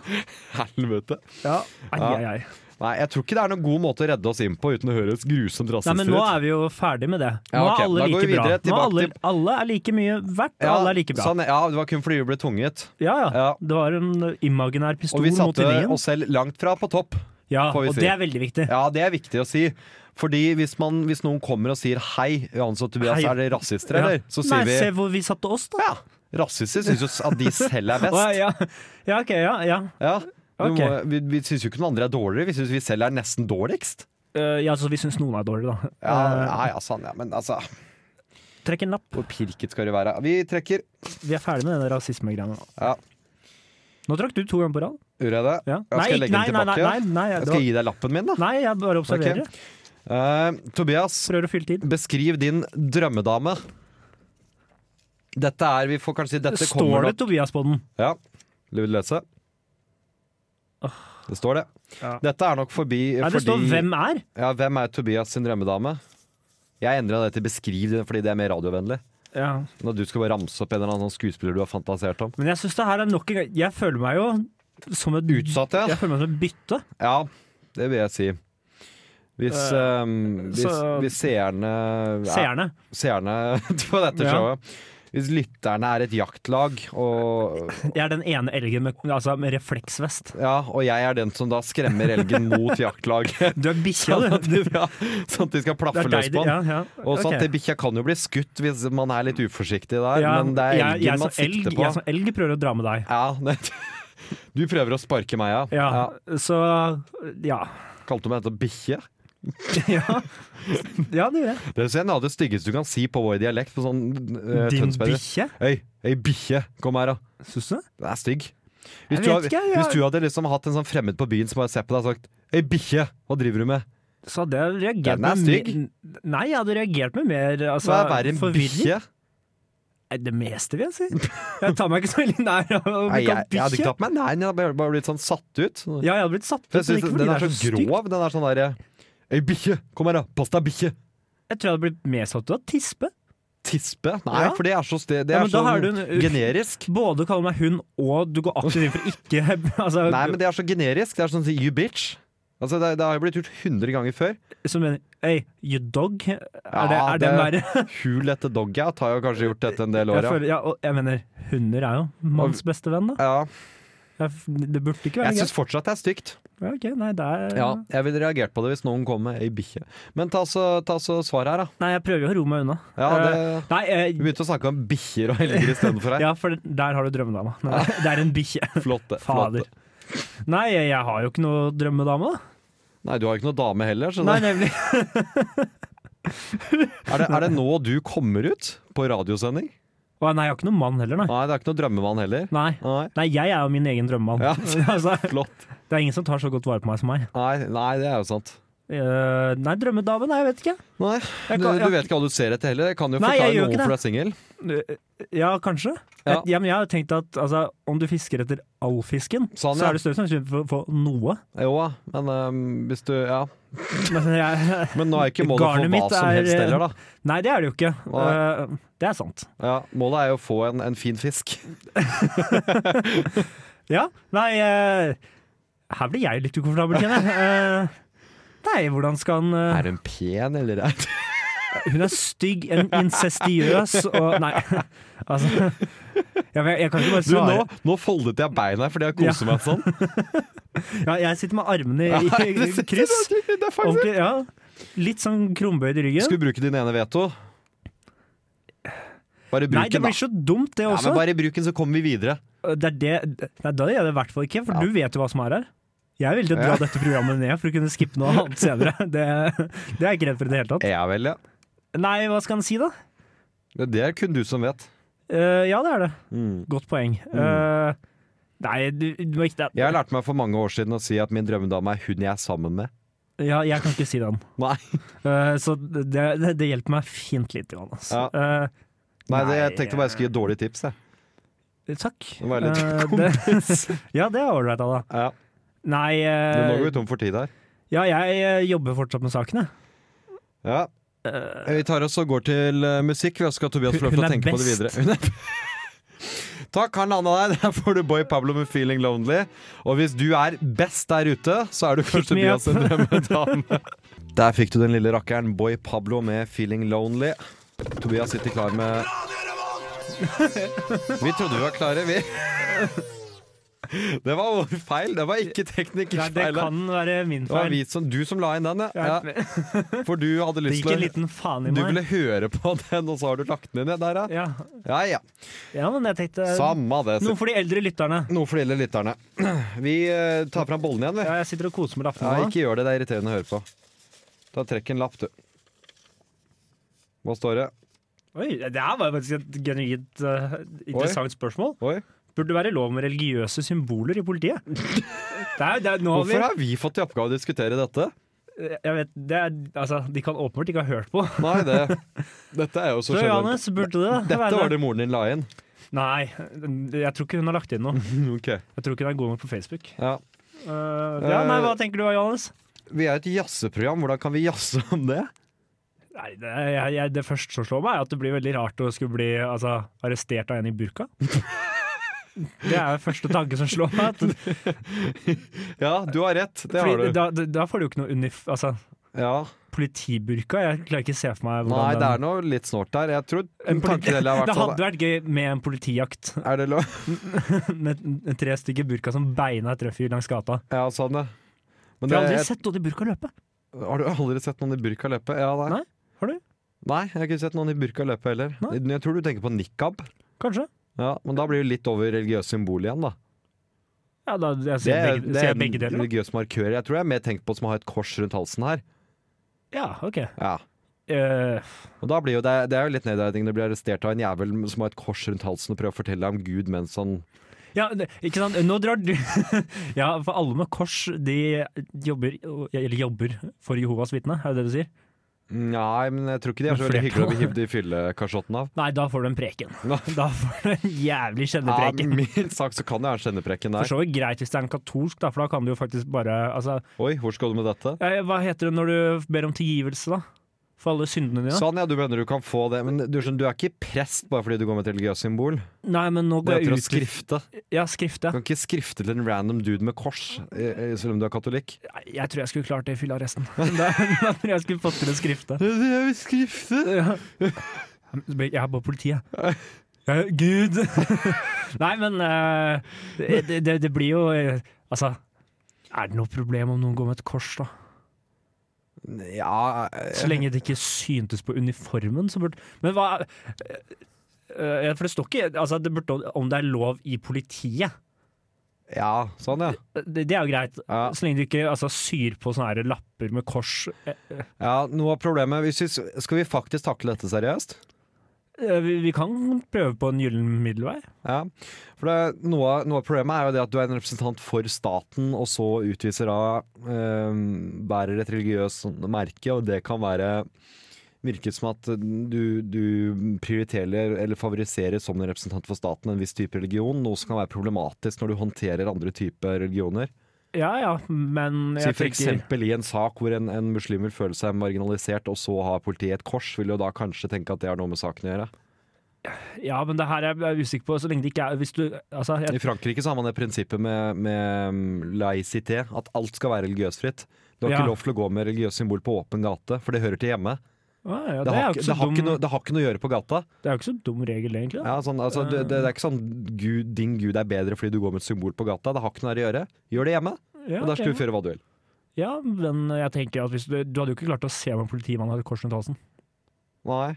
D: Helvete.
E: Ja. Ai, ai, ai.
D: Nei, jeg tror ikke det er noen god måte å redde oss inn på uten å høres grusomt
E: Nei,
D: rasistisk
E: men nå
D: ut.
E: er vi jo ferdig med det. Nå
D: Ja, ok,
E: er alle
D: da går
E: like
D: vi
E: bra.
D: videre
E: Nå er alle,
D: tilbake
E: alle er like mye verdt, og
D: Ja,
E: alle er like bra.
D: Sånn, ja, det var kun fordi vi ble tvunget.
E: Ja, ja.
D: Ja.
E: Det var en imaginær
D: Og
E: pistol
D: vi
E: mot
D: satte
E: linjen.
D: oss selv langt fra på topp.
E: Ja,
D: får vi
E: og
D: si.
E: det er veldig viktig.
D: Ja, det er viktig å si. Fordi hvis, man, hvis noen kommer og sier 'hei, Johannes og Tobias,
E: Hei.
D: er dere rasister', eller?
E: Ja.
D: Så sier
E: Nei,
D: vi
E: se hvor vi satte oss, da.
D: ja, rasister syns jo at de selv er
E: Å,
D: best.
E: ja. ja, OK, ja. ja.
D: Ja. Vi,
E: Ok.
D: må, vi, vi syns jo ikke noen andre er dårligere, vi syns vi selv er nesten dårligst.
E: Eh, ja, så vi syns noen er dårligere, da.
D: Ja,
E: Eh,
D: ja, ja, sann, ja. Men altså,
E: trekk en lapp.
D: hvor pirket skal du være? Vi trekker.
E: Vi er ferdig med den rasismegreiene. nå.
D: Ja,
E: Nå trakk du to ganger på rad.
D: Gjorde jeg det?
E: Ja.
D: Ja, skal jeg
E: ikke-
D: legge den
E: nei,
D: tilbake?
E: nei, nei, nei,
D: Jeg
E: det
D: skal
E: var-
D: gi deg lappen min, da.
E: nei, jeg bare observerer.
D: Eh, Tobias,
E: Prøver å fylle tid.
D: beskriv din drømmedame. Dette er Vi får kanskje si dette
E: Står
D: kommer
E: det Tobias på den?
D: Ja. Vil du lese? Det står det.
E: Ja.
D: Dette er nok forbi
E: Nei, det
D: fordi
E: står 'Hvem er'?
D: Ja, hvem er Tobias sin drømmedame? Jeg endra det til 'beskriv' det, fordi det er mer radiovennlig.
E: Ja.
D: Når du skal bare ramse opp en eller annen sånn skuespiller du har fantasert om.
E: Men jeg syns det her er nok en gang Jeg føler meg jo som et
D: Utsatt, ja.
E: Jeg føler meg som et bytte.
D: Ja, det vil jeg si. Hvis,
E: Eh,
D: ehm, hvis,
E: så-
D: hvis seerne ja,
E: Seerne.
D: Seerne på dette
E: Ja.
D: showet. Hvis lytterne er et jaktlag, og,
E: Jeg er den ene elgen med, altså, med refleksvest.
D: ja, og jeg er den som da skremmer elgen mot jaktlaget
E: Du er bikkja,
D: Sånn
E: du.
D: at, de- ja, sånn at de skal plaffe
E: Det er
D: løs
E: deg,
D: på den.
E: ja, ja.
D: Og sånn at
E: Ok.
D: det Bikkja kan jo bli skutt hvis man er litt uforsiktig der,
E: Ja,
D: men det er
E: jeg-
D: elgen
E: jeg som
D: man sikter
E: elg-
D: på.
E: Jeg som elg prøver å dra med deg.
D: Ja, nei, du prøver å sparke meg, ja.
E: Ja,
D: ja.
E: så ja.
D: Kalte du meg dette bikkje?
E: ja. Ja, det gjør jeg.
D: Det er noe av det styggeste du kan si på vår dialekt. På sånn, eh,
E: Din
D: Tønsberg.
E: bikkje?
D: Hei, hei bikkje, kom her da
E: Syns du?
D: Den er stygg Hvis,
E: Jeg
D: du,
E: vet
D: hadde,
E: ikke, jeg-
D: hvis du hadde liksom hatt en sånn fremmed på byen Som bare ser på deg og sagt Hei bikkje, hva driver du med?
E: Så hadde jeg reagert
D: Den er
E: med
D: stygg.
E: mer- Nei, jeg hadde reagert med mer altså,
D: Hva er verre enn bikkje?
E: Nei, Det meste, vil jeg si. Jeg tar meg ikke så veldig nær av å
D: Nei,
E: bli
D: jeg, jeg
E: kalt
D: hadde ikke
E: bikkje.
D: tatt meg Nei, jeg hadde bare- bare blitt sånn satt ut For
E: Ja, jeg hadde blitt satt ut,
D: jeg
E: men
D: synes
E: ikke fordi
D: den
E: det
D: er så
E: stygg.
D: grov Den er sånn der eh, Hei bikkje, kom her da Pass deg bikkje
E: Jeg tror jeg hadde blitt mer satt ut av tispe.
D: Tispe? Nei,
E: Ja.
D: for det er så, sted, det
E: Ja,
D: er
E: men da
D: så
E: har du en- uh,
D: generisk
E: Både kaller meg hund, og du går aktivt inn for ikke altså,
D: Nei, men det er så generisk Det er sånn å si you bitch Altså, det, det har jo blitt gjort hundre ganger før
E: Som en Hey, you dog? Er det,
D: Ja,
E: er det,
D: det-
E: verre?
D: Hul etter dog out har jo kanskje gjort dette en del
E: Jeg,
D: år ja.
E: føler, ja, og jeg mener, hunder er jo manns beste venn, da.
D: ja,
E: Jeg, f- det burde ikke være
D: jeg
E: greit.
D: synes fortsatt det er stygt
E: Ja, ok, nei, det er
D: Ja, jeg ville reagert på det hvis noen kom med ei bikkje. Men ta så, ta så svar her, da.
E: Nei, jeg prøver jo å roe meg unna.
D: Ja, det,
E: Eh, nei, eh,
D: vi begynte å snakke om bikkjer og helger istedenfor her.
E: ja, for der har du drømmedama. Nei, Det er en bikkje.
D: Flott, det. flott
E: Fader.
D: det.
E: Nei, jeg jeg har jo ikke noe drømmedame, da.
D: Nei, du har ikke noe dame heller, så
E: Nei,
D: det,
E: nemlig.
D: er, det, er det nå du kommer ut? På radiosending?
E: Å, nei, jeg har ikke noen mann heller, nei.
D: Nei, det er ikke noe drømmemann heller.
E: Nei,
D: Nei,
E: nei jeg er jo min egen drømmemann.
D: Ja.
E: altså,
D: flott.
E: det er ingen som tar så godt vare på meg som meg.
D: Nei, nei det er jo sant.
E: Eh, nei, drømmedame, nei, jeg vet ikke.
D: Nei,
E: Jeg
D: du,
E: kan-
D: du vet ikke hva du ser etter heller. Det kan jo
E: Nei, jeg
D: forklare
E: gjør
D: noe
E: ikke
D: hvorfor du
E: det.
D: er singel.
E: Eh, Ja, kanskje.
D: Ja.
E: Jeg, ja, men jeg har jo tenkt at altså, om du fisker etter all fisken,
D: Sånn,
E: så
D: ja.
E: er det større sannsynlighet for å få noe.
D: Jo da, men øhm, hvis du Ja.
E: Men jeg,
D: Men nå er ikke målet å få
E: Garnet
D: hva
E: mitt
D: som
E: er, eh,
D: helst heller, da.
E: nei, det er det jo ikke.
D: Nei.
E: Eh, det er sant.
D: Ja, målet er jo å få en, en fin fisk.
E: Ja, nei eh, Her blir jeg litt ukomfortabel, kjenner jeg. Eh, nei, hvordan skal han eh,
D: Er hun pen, eller? er-
E: Hun er stygg, en incestiøs og Nei, altså ja, men jeg, jeg kan ikke bare
D: Du,
E: svare.
D: nå, nå foldet jeg beina fordi jeg koser meg sånn.
E: Ja, jeg sitter med armene i, i, i kryss.
D: Det er faktisk-
E: Ordentlig, ja. Litt sånn krumbøyd i ryggen.
D: Skal du bruke din ene veto? Bare bruk
E: Nei, det
D: den, da.
E: blir så dumt, det
D: Ja,
E: også.
D: men bare bruk den, så kommer vi videre.
E: Det er det, nei, da gjør jeg det i hvert fall ikke, for
D: Ja.
E: du vet jo hva som er her. Jeg ville dra
D: Ja.
E: dette programmet ned for å kunne skippe noe annet senere. Det, det er jeg ikke redd for i det hele tatt.
D: Ja vel, ja.
E: Nei, hva skal en si, da?
D: Det det er kun du som vet.
E: Eh, ja, det er det.
D: Mm.
E: Godt poeng. Eh, nei, du, du må ikke det.
D: Jeg lærte meg for mange år siden å si at min drømmedame er hun jeg er sammen med.
E: Ja, jeg kan ikke si den.
D: Nei,
E: Eh, så det, det, det hjelper meg fint lite grann. Altså. Eh,
D: Nei det, jeg
E: Nei,
D: tenkte bare jeg skulle gi dårlige tips. Jeg.
E: takk.
D: Det var litt
E: Eh, det, ja, det er ålreit, Ada.
D: Ja.
E: Nei eh,
D: Men nå går vi tom for tid her.
E: Ja, jeg eh, jobber fortsatt med sakene.
D: Ja. Vi tar oss og går til eh, musikk. Vi skal Tobias få lov til
E: Eh, Hun
D: å
E: er
D: tenke på det videre.
E: best.
D: Hun er Takk, han landa der. Der får du Boy Pablo med 'Feeling Lonely'. Og hvis du er best der ute, så er du kanskje
E: me
D: Tobias'
E: up.
D: drømmedame. Der fikk du den lille rakkeren Boy Pablo med 'Feeling Lonely'. Tobias sitter klar med Vi trodde vi var klare, vi. Det var feil. Det var ikke
E: Nei, det
D: teknikerfeil.
E: kan være min
D: Det var
E: feil.
D: vi som, du som la inn den, ja. ja.
E: Jeg-
D: For du hadde
E: Det
D: lyst
E: gikk
D: til
E: en
D: å
E: liten faen i
D: Du
E: meg.
D: ville høre på den, og så har du lagt den inn ja, der, ja.
E: Ja.
D: Ja ja.
E: ja, men jeg tenkte eh,
D: Samma det.
E: Noe for de eldre lytterne.
D: Noe for de lille lytterne. Vi eh, tar fram bollen igjen, vi.
E: Ja, jeg sitter og koser meg med
D: Ja,
E: lappen nå.
D: ikke gjør det. Det er irriterende å høre på. Da trekk en lapp, du. Hva står det?
E: Oi, det her var jo faktisk et genuint eh, interessant spørsmål.
D: Oi.
E: Burde det være lov med religiøse symboler i politiet? Det er, det er, nå har vi,
D: Hvorfor har vi fått i oppgave å diskutere dette?
E: jeg vet, det er, altså, De kan åpenbart ikke ha hørt på.
D: Nei, det Dette er jo så
E: Så
D: generelt.
E: Johannes, burde det
D: Dette var
E: være
D: det moren din la inn.
E: Nei, jeg tror ikke hun har lagt inn noe.
D: Ok.
E: Jeg tror ikke hun er god nok på Facebook.
D: Ja.
E: Eh, ja, nei, Hva tenker du da, Johannes?
D: Vi er et jazzeprogram. Hvordan kan vi jazze om det?
E: Nei, det, jeg, jeg, det første som slår meg, er at det blir veldig rart å skulle bli altså, arrestert av en i burka. Det er første tanke som slår meg. At,
D: Ja, du har rett. Det har
E: fordi,
D: du.
E: da, da- da får du jo ikke noe unif... Altså,
D: Ja.
E: politiburka? Jeg klarer ikke å se for meg hvordan
D: Nei, det er
E: den-
D: noe litt snålt der. Jeg tror
E: en politi-
D: kanskje det har vært
E: Det
D: sånn.
E: hadde vært gøy med en politijakt
D: Er det lov?
E: med n- tre stykker burka som beina et røffyr langs gata.
D: Ja, sånn, ja. Men
E: For jeg har
D: det-
E: aldri sett noen i burka løpe.
D: Har du aldri sett noen i burka løpe? Ja, nei.
E: Nei, har du?
D: Nei, jeg har ikke sett noen i burka løpe heller.
E: Nei.
D: Jeg tror du tenker på nikab.
E: Kanskje.
D: Ja, men da blir det litt over religiøst symbol igjen, da.
E: Ja, da jeg ser jeg begge, ser jeg begge
D: en
E: deler. da.
D: religiøs markør. Jeg tror jeg er mer tenkt på som har et kors rundt halsen her.
E: Ja, OK.
D: Ja.
E: Eh,
D: Og da blir jo det, det er jo litt nedverdigende å bli arrestert av en jævel som har et kors rundt halsen og prøver å fortelle deg om Gud mens han
E: Ja, det- ikke sant. Nå drar du Ja, for alle med kors, de jobber Eller jobber for Jehovas vitne, er det det du sier?
D: Nei, men jeg tror ikke de er så
E: Men
D: veldig hyggelig å
E: flertall.
D: bli hivd i fyllekasjotten av.
E: Nei, da får du en preken.
D: Nå.
E: Da får du en jævlig
D: Ja,
E: kjennepreken.
D: mildt sagt så kan jeg ha en kjenneprekken
E: For
D: der.
E: så vidt greit hvis det er en katolsk, da, for da kan du jo faktisk bare altså,
D: Oi, hvor skal du med dette?
E: eh, Hva heter det når du ber om tilgivelse, da? For alle syndene dine?
D: Sånn, ja, du mener du kan få det. Men du, skjønner, du er ikke prest bare fordi du går med et religiøst symbol.
E: Nei, men nå
D: Det
E: går
D: heter
E: jeg
D: å
E: ut
D: skrifte.
E: Ja,
D: Du
E: skrifte.
D: kan ikke skrifte til en random dude med kors, eh, eh, selv om du er katolikk.
E: Nei, Jeg tror jeg skulle klart det i fyllearresten. Da, da tror jeg jeg skulle fått til å skrifte.
D: Jeg vil skrifte!
E: Ja. Jeg er bare politiet. Ja, Gud! Nei, men eh, det, det, det blir jo eh, Altså, er det noe problem om noen går med et kors, da?
D: Ja
E: Så
D: eh,
E: lenge det ikke syntes på uniformen, så burde Men hva eh, eh, For det står ikke altså, det burde, om det er lov i politiet.
D: ja, sånn, ja.
E: Det, det er jo greit,
D: ja.
E: så lenge du ikke altså, syr på sånne her lapper med kors. Eh,
D: Ja, Noe av problemet hvis vi, s- Skal vi faktisk takle dette seriøst?
E: eh, Vi, vi kan prøve på en gyllen middelvei.
D: Ja. For det, noe, av- noe av problemet er jo det at du er en representant for staten, og så utviser av eh, bærer et religiøst sånn merke, og det kan være Virker som at du, du prioriterer eller favoriserer som en representant for staten en viss type religion, noe som kan være problematisk når du håndterer andre typer religioner.
E: Ja ja, men
D: Si
E: jeg
D: for
E: tenker-
D: eksempel i en sak hvor en, en muslim vil føle seg marginalisert, og så har politiet et kors, vil jo da kanskje tenke at det har noe med saken å gjøre.
E: Ja, men det her er jeg usikker på. Så lenge det ikke er Hvis du Altså,
D: I
E: jeg,
D: Frankrike så har man det prinsippet med, med um, laïcité, at alt skal være religiøsfritt. Du har
E: Ja.
D: ikke lov til å gå med religiøst symbol på åpen gate, for det hører til hjemme.
E: Ah, ja,
D: Det
E: det, er
D: har,
E: jo
D: ikke-
E: ikke
D: det,
E: så
D: har
E: dum,
D: ikke noe, det har ikke noe å gjøre på gata.
E: det er jo ikke så dum regel, egentlig. Da.
D: Ja, sånn, altså, det, det er ikke sånn Gud, 'din gud er bedre fordi du går med et symbol på gata'. Det har ikke noe her å gjøre. Gjør det hjemme,
E: Ja,
D: og der
E: ok.
D: skal du føre hva du vil.
E: ja, men jeg tenker at hvis du, du hadde jo ikke klart å se om en politimann hadde kors rundt halsen.
D: Nei,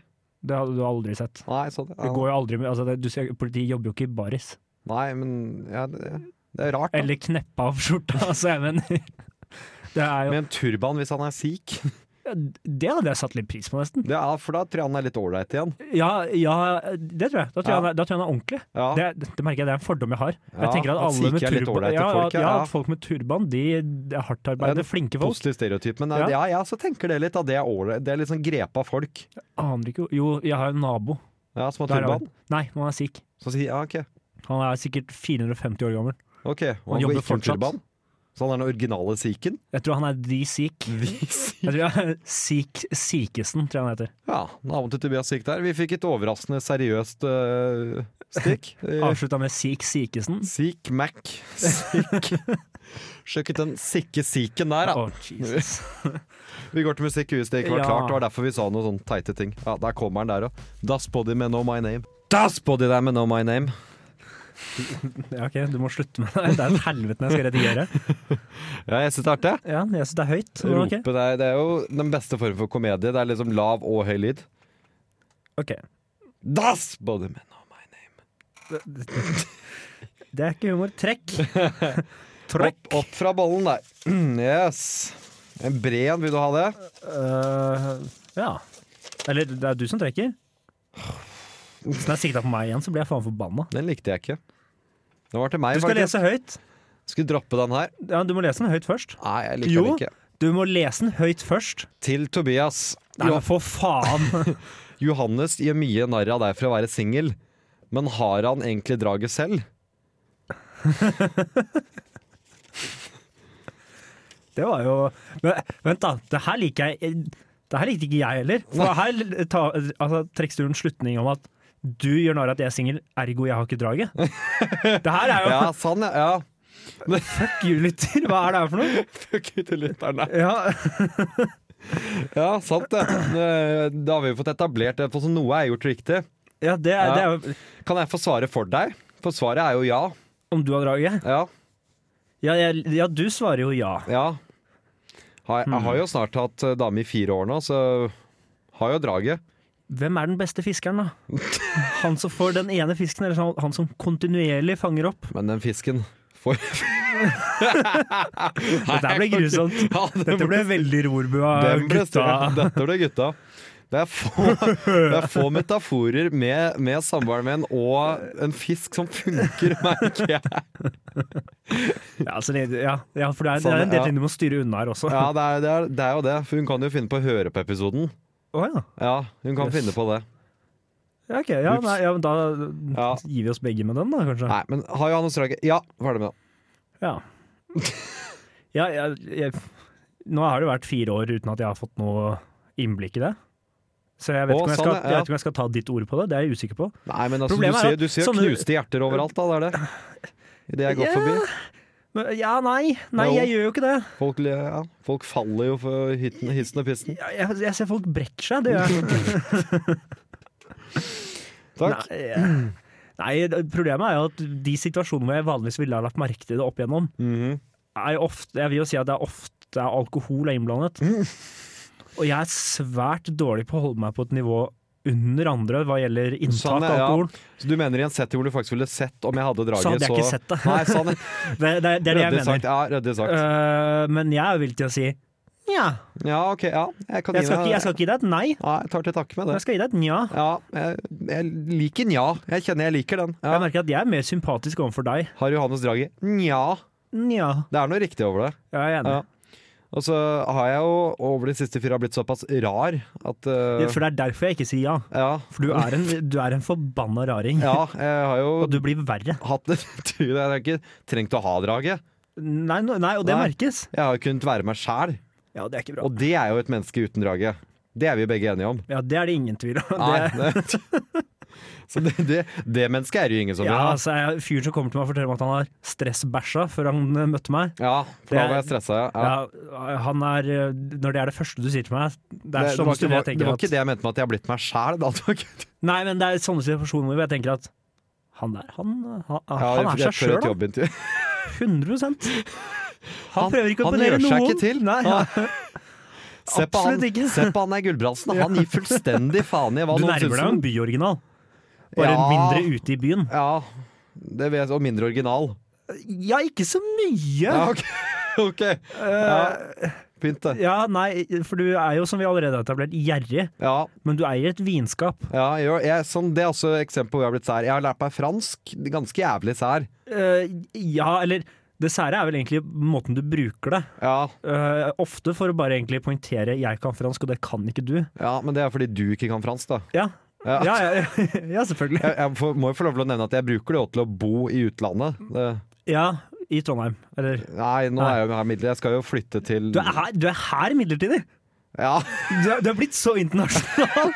E: Det hadde du aldri sett.
D: nei, sånn,
E: Det
D: ja.
E: går jo aldri med, altså det, du ser, Politiet jobber jo ikke i baris.
D: nei men ja, det, det er rart. Da.
E: Eller kneppe av skjorta, altså jeg mener. Det er jo,
D: Med en turban hvis han er sikh.
E: det hadde jeg satt litt pris på, nesten.
D: Det er, for da tror jeg han er litt ålreit igjen.
E: Ja, ja, det tror jeg. Da tror,
D: Ja.
E: jeg, han er- da tror jeg han er ordentlig.
D: Ja.
E: Det, er- det merker jeg, det er en fordom jeg har.
D: Ja,
E: Jeg tenker at
D: at
E: alle med
D: sikher er litt
E: turban
D: ålreite
E: ja,
D: folk,
E: ja,
D: ja.
E: at folk med turban, de er
D: Det er en
E: hardtarbeidende, flinke folk.
D: Positiv stereotyp, men ja,
E: Ja.
D: ja, jeg også tenker det litt. At det, er ålreit. det er litt sånn grepa folk
E: Aner ikke hvor- Jo, jeg har en nabo.
D: ja, som har
E: Der er
D: turban.
E: han. Nei, han er sikh.
D: Så sier ja, OK.
E: Han er sikkert 450 år gammel.
D: ok, Og
E: Han
D: han,
E: jobber
D: går ikke med
E: fortsatt.
D: turban. Så han er den originale sikhen?
E: Jeg tror han er the sikh. Jeg tror jeg, sikh Sikhesen, tror jeg han heter.
D: Ja, naboen til Tobias gikk der. Vi fikk et overraskende seriøst øh, stikk. Eh,
E: Avslutta med sikh Sikhesen.
D: Sikh Mac. Sikh. Sjekk ut den sikke siken der, da.
E: Å, Jesus.
D: Vi går til musikk hvis det ikke var
E: Ja.
D: klart. Det var derfor vi sa noen sånne teite ting. Ja, Der kommer den der òg. Das Body med No My Name. Das Body der med No My Name.
E: Ja, ok, du må slutte med det. Det er et helvete når jeg skal redigere.
D: Ja, jeg syns det er artig.
E: Ja, jeg synes det er høyt. men ok.
D: Rope, det er, det er jo den beste formen for komedie. Det er liksom lav og høy lyd.
E: Ok.
D: Das Body med No My Name.
E: Det er ikke humor. Trekk.
D: Opp, opp fra bollen der. Yes. En bred en, vil du ha det?
E: Eh, ja. Eller det er du som trekker. Hvis den er sikta på meg igjen, så blir jeg faen forbanna.
D: Den likte jeg ikke. Den var til meg,
E: Du skal
D: faktisk.
E: lese høyt.
D: Skulle droppe den her.
E: Ja, du må lese den høyt først.
D: Nei, jeg liker
E: Jo.
D: den ikke.
E: Du må lese den høyt først.
D: Til Tobias.
E: Nei,
D: Jo,
E: men for faen!
D: Johannes gjør mye narr av deg for å være singel, men har han egentlig draget selv?
E: Det var jo men, Vent, da. Det her liker jeg Det her likte ikke jeg heller. For her ta, altså, trekkes det jo en slutning om at du gjør narr av at jeg er singel, ergo jeg har ikke draget. Det her er jo
D: Ja, sann, ja.
E: Fuck you, lytter! Hva er det her for noe?
D: Fuck you til lytterne.
E: Ja,
D: Ja, sant det. Eh, Da har vi jo fått etablert det, for så noe er gjort riktig.
E: ja, det, er- det er jo
D: Kan jeg få svaret for deg? For svaret er jo ja.
E: Om du har draget?
D: Ja.
E: Ja, jeg, ja, du svarer jo ja.
D: ja. Har, jeg har
E: Hmm.
D: jo snart hatt eh, dame i fire år nå, så har jo draget.
E: Hvem er den beste fiskeren, da? Han som får den ene fisken, eller sånn, han- han som kontinuerlig fanger opp?
D: Men den fisken får
E: Dette ble grusomt.
D: Ja, det
E: Dette ble veldig rorbua
D: Den ble
E: gutta.
D: strøm. Dette ble gutta. Det er få, det er få metaforer med, med samboeren min og en fisk som funker, merker jeg.
E: Ja, altså, det- ja, ja, for det er, det er
D: Sånn,
E: en del
D: ja.
E: ting du må styre unna her også.
D: Ja, det er, det, er, det er jo det. For hun kan jo finne på å høre på episoden.
E: Å, ja.
D: Ja, hun kan
E: Yes.
D: finne på det.
E: Ja, ok, ja,
D: Ups.
E: nei, ja, men da
D: Ja.
E: gir vi oss begge med den, da, kanskje.
D: Nei, men har Johannes Drage Ja, ferdig med det.
E: Ja. ja jeg, jeg, nå har det vært fire år uten at jeg har fått noe innblikk i det. Så jeg vet,
D: Å,
E: ikke, om jeg,
D: sånn, ja.
E: skal, jeg vet ikke om jeg skal ta ditt ord på det, det er jeg usikker på.
D: Nei, men altså, du
E: Problemet er
D: ser,
E: at
D: du ser jo
E: sånne-
D: knuste hjerter overalt, da. Det er det. I det jeg går
E: Ja.
D: forbi.
E: Men, ja, nei, nei,
D: Jo.
E: jeg gjør jo ikke det.
D: Folk, le- ja, folk faller jo for hitten, hissen og pissen.
E: Ja, Jeg, jeg ser folk brekke seg, det gjør jeg.
D: Takk.
E: Nei, eh, Nei, det- problemet er jo at de situasjonene hvor jeg vanligvis ville ha lagt merke til det opp igjennom,
D: Mhm.
E: er jo ofte, jeg vil jo si at det er ofte er alkohol er innblandet.
D: Mm.
E: Og jeg er svært dårlig på å holde meg på et nivå under andre hva gjelder inntak
D: Sånn,
E: av
D: ja.
E: alkohol.
D: Så du mener i en setting hvor du faktisk ville sett om jeg hadde draget,
E: Så hadde jeg ikke sett det.
D: Nei, sånn.
E: Det, det, det er det jeg
D: Rødde
E: mener.
D: sagt. Ja, rødde sagt.
E: Eh, men jeg er jo villig til å si nja.
D: Ja, ok. Ja. Jeg, kan
E: Jeg
D: gi
E: skal,
D: deg-
E: ikke, jeg skal ikke gi deg et nei,
D: Ja, jeg tar til takke med
E: men
D: det.
E: jeg skal gi deg et nja.
D: Ja, jeg, jeg liker nja. Jeg kjenner jeg liker den.
E: Jeg
D: Ja.
E: merker at jeg er mer sympatisk overfor deg.
D: Har Johannes draget nja.
E: Nja.
D: Det er noe riktig over det.
E: Ja, jeg er enig.
D: Og så har jeg jo over de siste fire har blitt såpass rar at eh,
E: For det er derfor jeg ikke sier ja.
D: ja,
E: For du er en, du er en forbanna raring.
D: ja, jeg har jo
E: Og du blir verre.
D: hatt det Jeg har ikke trengt å ha draget.
E: Nei, no- nei og det
D: Nei.
E: merkes.
D: Jeg har jo kunnet være meg sjæl,
E: Ja, det er ikke
D: og det er jo et menneske uten draget. Det er vi jo begge enige om.
E: Ja, Det er det ingen tvil om.
D: Nei,
E: Det,
D: det, Så det, det, det mennesket er det jo ingen som vil
E: Ja,
D: ha.
E: altså, jeg, Fyren som kommer til meg og forteller meg at han har stressbæsja før han eh, møtte meg.
D: Ja, for da
E: Det-
D: var jeg stressa. Ja. Ja.
E: Ja. han er, eh, når det er det første du sier til meg Det
D: Det,
E: er
D: det,
E: sånne
D: var ikke,
E: stunder jeg
D: det, det
E: tenker
D: var ikke
E: at
D: det jeg mente med at jeg har blitt meg sjæl. Ja,
E: Nei, men det er sånne situasjoner hvor jeg tenker at han der, han, han, Ah, han er seg sjøl, da. 100 Han,
D: Han-
E: prøver ikke å
D: han
E: imponere
D: gjør
E: noen.
D: seg ikke til.
E: Nei,
D: Ja. Se på han,
E: Absolutt ikke.
D: se på han der Gulbrandsen. Han gir fullstendig faen i hva
E: Du
D: noen syns.
E: nærmer deg jo
D: om-
E: en byoriginal. Bare
D: Ja.
E: mindre ute i byen.
D: Ja, det vet jeg, og mindre original.
E: Ja, ikke så mye.
D: Ja, ok. ok. Ja. Pynt det.
E: Ja, nei, for du er jo, som vi allerede har etablert, gjerrig.
D: Ja,
E: Men du eier et vinskap.
D: ja jeg, jeg, sånn, det er også et eksempel hvor jeg har blitt sær. Jeg har lært meg fransk, ganske jævlig sær.
E: Eh, ja, eller det sære er vel egentlig måten du bruker det.
D: Ja,
E: Eh, ofte for å bare egentlig poengtere 'jeg kan fransk, og det kan ikke du'.
D: ja, men det er fordi du ikke kan fransk, da.
E: Ja,
D: Ja.
E: ja, ja, ja selvfølgelig.
D: Jeg, jeg får, må jo få lov til å nevne at jeg bruker det jo til å bo i utlandet. Det,
E: Ja, i Trondheim. Eller
D: nei, nå er jeg jo her midler. Jeg skal jo flytte til
E: Du er her, du er her midlertidig!
D: Ja,
E: Du er, du er blitt så internasjonal!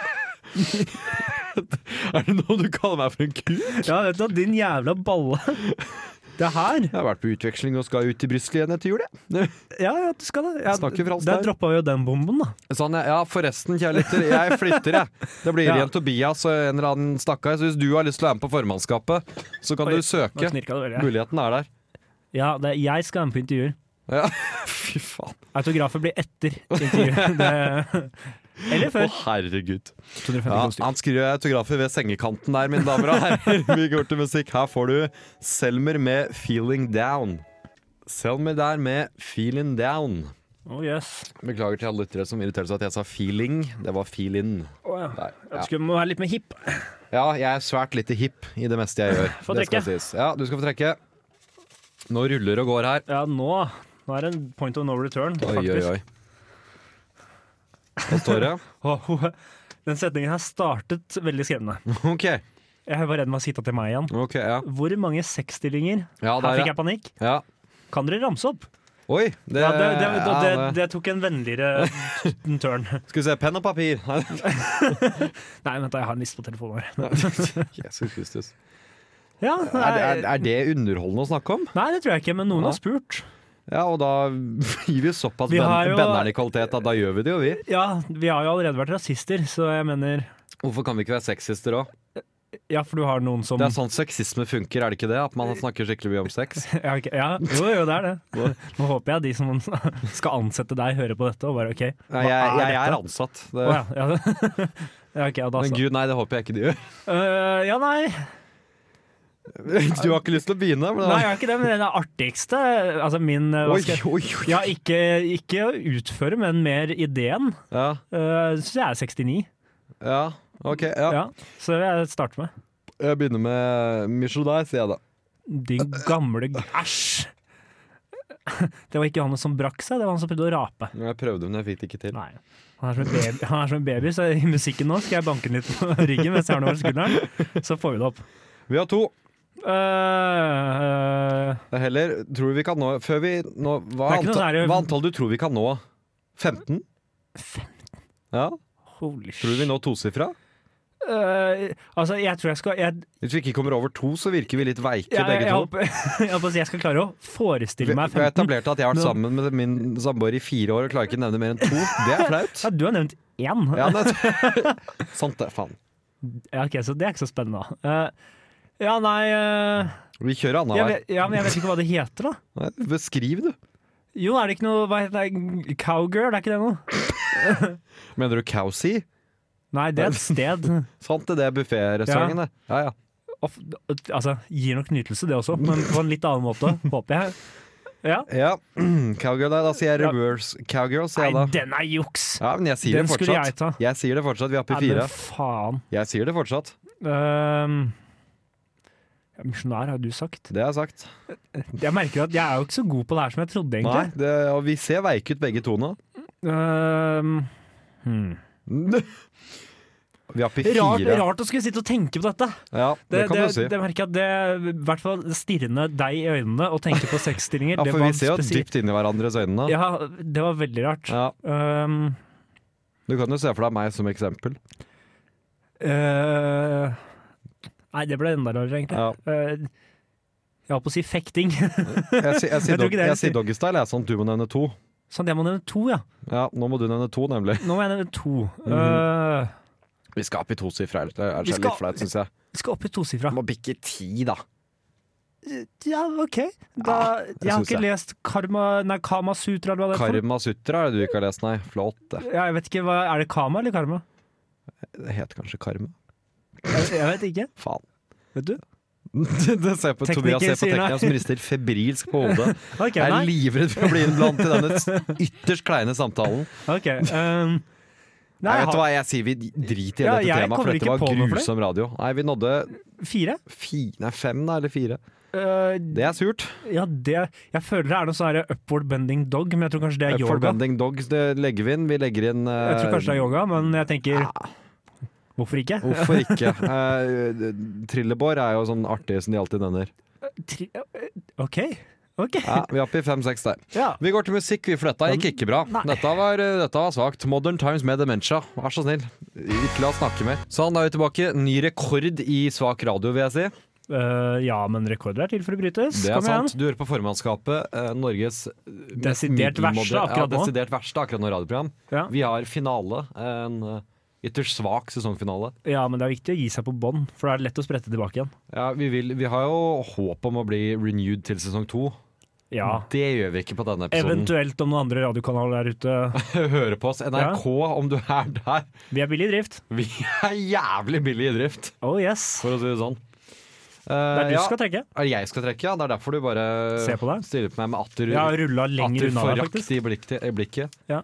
D: Er det noe du kaller meg for en kuk?
E: Ja, vet du hva, din jævla balle. Det er her.
D: Jeg har vært på utveksling og skal ut til Brussel igjen etter jul, jeg.
E: Ja, ja, du skal det. Ja,
D: Snakker fransk
E: der
D: der.
E: droppa vi jo den bomben, da.
D: Sånn, ja, ja, forresten, kjære lytter, jeg flytter, jeg. Det blir
E: Ja.
D: igjen Tobias og en eller annen stakkar. Så hvis du har lyst til å være med på formannskapet, så kan du
E: Oi,
D: søke.
E: Nå knirka det veldig.
D: Muligheten er der.
E: Ja, det, er- jeg skal være med på intervjuer.
D: Ja. Fy faen.
E: Autografer blir etter intervjuer. Det, eller
D: Å,
E: før.
D: herregud.
E: 250
D: Ja,
E: kroner stykker.
D: han skriver autografer ved sengekanten der, mine damer og herrer. Vi går til musikk. Her får du Selmer med 'Feeling Down'. Selmer der med 'Feeling Down'.
E: Å, jøss.
D: Beklager til alle lyttere som irriterer seg at jeg sa 'feeling'. Det var 'feelin'.
E: Å, ja.
D: Der, ja.
E: Jeg skulle må være litt mer hipp.
D: Ja, jeg er svært lite hipp i det meste jeg gjør.
E: Få
D: Det skal
E: trekke.
D: sies. Ja, du skal få trekke. Nå ruller og går her.
E: Ja, nå Nå er det en point of no return,
D: Oi, oi,
E: faktisk.
D: oi. Hva står det?
E: Åh, Den setningen her startet veldig skremmende.
D: OK.
E: Jeg var redd med å sitte til meg igjen.
D: ok, Ja,
E: Hvor mange sexstillinger?
D: ja
E: Her
D: der,
E: fikk
D: ja.
E: jeg panikk.
D: ja.
E: Kan dere ramse opp?
D: Oi! Det,
E: Ja, det, det, det,
D: ja,
E: det,
D: det-
E: det tok en vennligere tørn.
D: Skal vi se. Penn og papir. Nei,
E: Nei, vent, da, jeg har en liste på telefonen her.
D: Jesus Kristus.
E: Ja,
D: Er,
E: nei,
D: er, er det underholdende å snakke om?
E: nei, det tror jeg ikke, men noen har spurt.
D: Ja, og da gir vi såpass
E: Vi
D: ben,
E: har jo-
D: benneren i kvalitet at da gjør vi det jo, vi.
E: Ja, vi har jo allerede vært rasister, så jeg mener
D: Hvorfor kan vi ikke være sexister òg?
E: Ja, for du har noen som
D: Det er sånn sexisme funker, er det ikke det? At man snakker skikkelig mye om sex?
E: ja, ok, ja, jo, jo, det er det. Nå håper jeg de som skal ansette deg, hører på dette og bare OK.
D: Nei,
E: hva
D: jeg, jeg,
E: dette?
D: er ansatt. Det,
E: Å, ja, ja. ja, ok, ja, da
D: Men
E: så.
D: gud, nei, det håper jeg ikke de gjør.
E: Øh, ja, nei,
D: Du har ikke lyst til å begynne? Men
E: nei, jeg har ikke det, men det artigste Altså min øh, hva
D: Oi,
E: skal jeg-
D: oi, oi.
E: Ja, ikke, ikke å utføre, men mer ideen.
D: Ja,
E: Uh, Syns jeg er 69.
D: ja, ok.
E: Ja.
D: Ja.
E: Så det vil jeg starte med.
D: Jeg begynner med Michelin, sier jeg da.
E: Din gamle Æsj! Det var ikke han som brakk seg, det var han som prøvde å rape.
D: Jeg prøvde, men jeg fikk det ikke til.
E: Nei. Han er som en baby, han er som en baby så i musikken nå skal jeg banke den litt på ryggen mens jeg har den over skulderen. Så får vi det opp.
D: Vi har to.
E: Øh, øh,
D: Det er Heller, tror vi vi kan nå Før vi nå Hva er
E: Det er ikke noe
D: antall,
E: særlig-
D: hva antall du tror vi kan nå? 15? Ja,
E: holy
D: Tror du vi
E: shit.
D: nå tosifra?
E: Øh, altså, jeg tror jeg skal Jeg,
D: Hvis vi ikke kommer over to, så virker vi litt veike,
E: jeg, jeg,
D: begge to.
E: håper, jeg, håper jeg skal klare å forestille
D: Vi
E: meg
D: vi har
E: 15.
D: etablert at jeg har vært
E: Nå-
D: sammen med min samboer i fire år og klarer ikke å nevne mer enn to. Det er flaut.
E: Ja, du har nevnt én.
D: Ja, det, sant det. Faen.
E: Ja, ok, så det er ikke så spennende da. Eh, ja, nei eh,
D: Vi kjører
E: jeg,
D: annenhver.
E: vet, ja, men jeg vet ikke hva det heter, da.
D: Nei, Beskriv, du.
E: Jo, er det ikke noe hva heter det, Cowgirl? Er ikke det noe?
D: Mener du Cowsea?
E: Nei, det er et sted.
D: Sant det, det er bufférestauranten, det. Ja, ja.
E: Of, altså, gir nok nytelse, det også, men på en litt annen måte, håper jeg. Ja.
D: ja. Cowgirl, da. Da sier jeg reverse cowgirl, sier jeg
E: Nei,
D: da.
E: den er juks!
D: Ja, men jeg sier
E: Den
D: det
E: skulle jeg
D: fortsatt.
E: ta.
D: Jeg sier det fortsatt. Vi er oppe
E: Nei,
D: i fire.
E: men faen.
D: Jeg sier det fortsatt.
E: Ehm, ja, Misjonær, har du sagt.
D: Det har jeg sagt.
E: Jeg merker at jeg er jo ikke så god på det her som jeg trodde,
D: Nei,
E: egentlig.
D: det, og vi ser veike ut begge to nå.
E: Ehm, hmm.
D: Vi er oppe i
E: rart,
D: fire.
E: rart å skulle sitte og tenke på dette!
D: Ja, det
E: Det,
D: kan
E: det,
D: du si.
E: det merker jeg at det, i hvert fall stirrende deg i øynene og tenke på sexstillinger,
D: Ja,
E: det
D: for
E: var
D: vi ser jo
E: spesielt.
D: dypt inn i hverandres øynene.
E: Ja, det var veldig rart.
D: Ja,
E: Um,
D: Du kan jo se for deg meg som eksempel.
E: eh, Nei, det ble enda rarere, egentlig.
D: Ja.
E: Eh, jeg holdt på å si fekting.
D: Jeg, sier- jeg, sier
E: Jeg tror
D: dog-
E: ikke det er
D: jeg sier doggystyle, jeg, sånn at du må nevne to.
E: Så Sånn, jeg må nevne to, ja.
D: Ja, nå må du nevne to, nemlig.
E: Nå må jeg nevne to.
D: Mhm.
E: Eh,
D: Vi skal opp i tosifra, ellers er
E: Vi
D: det
E: skal-
D: litt flaut, syns jeg.
E: jeg skal opp i tosifra.
D: Må bikke ti, da.
E: Ja, OK. Da, jeg har
D: synes
E: ikke
D: jeg.
E: lest Karma, nei, Kama Sutra eller hva det er. for noe.
D: Karma Sutra er det du ikke har lest, nei. Flott, det.
E: Ja, jeg vet ikke, hva, Er det Kama eller Karma?
D: Det heter kanskje Karma.
E: Jeg, jeg vet ikke.
D: Faen.
E: Vet du?
D: Det ser på, Tobias ser på
E: sier nei.
D: teknikeren som rister febrilsk på hodet.
E: Ok,
D: Jeg er
E: nei.
D: livredd for å bli innblandet i denne s- ytterst kleine samtalen.
E: Ok, ehm, nei,
D: Nei,
E: jeg
D: vet du
E: har
D: hva, jeg sier vi driter i
E: Ja,
D: dette temaet,
E: jeg
D: for
E: kommer
D: dette
E: ikke
D: var
E: på noe for det.
D: grusom radio. Nei, vi nådde
E: fire.
D: fi, nei, fem, da, eller fire.
E: Eh,
D: Det er surt.
E: ja, det, jeg føler det er noe sånn her upward bending dog, men jeg tror kanskje det er
D: For
E: yoga.
D: Bending Dogs det legger vi inn. Vi legger inn eh,
E: Jeg tror kanskje det er yoga, men jeg tenker Hvorfor ikke?
D: Hvorfor ikke? Uh, Trillebår er jo sånn artig som de alltid nevner.
E: Tri- eh, OK. ok
D: Ja, vi er oppe i fem-seks der.
E: Ja.
D: Vi går til musikk. vi For dette gikk ikke bra.
E: Nei.
D: Dette var, eh, dette var svakt. Modern Times med dementia. Vær så snill, ikke la oss snakke mer. Sånn, da er vi tilbake. Ny rekord i svak radio, vil jeg si.
E: Eh, ja, men rekorder er til for å brytes.
D: Det er
E: Kom igjen.
D: sant. Du hører på formannskapet, eh, Norges mest
E: Desidert
D: middelmådige-
E: verste akkurat
D: ja,
E: nå.
D: desidert verste akkurat nå radioprogram.
E: Ja.
D: Vi har finale. En eh, ytterst svak sesongfinale.
E: ja, men det er viktig å gi seg på bånn, for da er det lett å sprette tilbake igjen.
D: Ja, vi, vil, vi har jo håp om å bli renewed til sesong to.
E: Ja.
D: Det gjør vi ikke på denne episoden.
E: Eventuelt om noen andre radiokanaler der ute.
D: Høre på oss. NRK, om du er der.
E: Vi er billig i drift.
D: Vi er jævlig billig i drift,
E: Oh yes.
D: for å si det sånn.
E: Det er du
D: Eh, ja.
E: som skal trekke.
D: Er det jeg skal trekke, ja? Det er derfor du bare
E: Se på deg.
D: stiller på meg med atter,
E: Jeg har rulla lenger
D: atter
E: unna deg,
D: forakt
E: faktisk.
D: i blikket. i blikket.
E: Ja.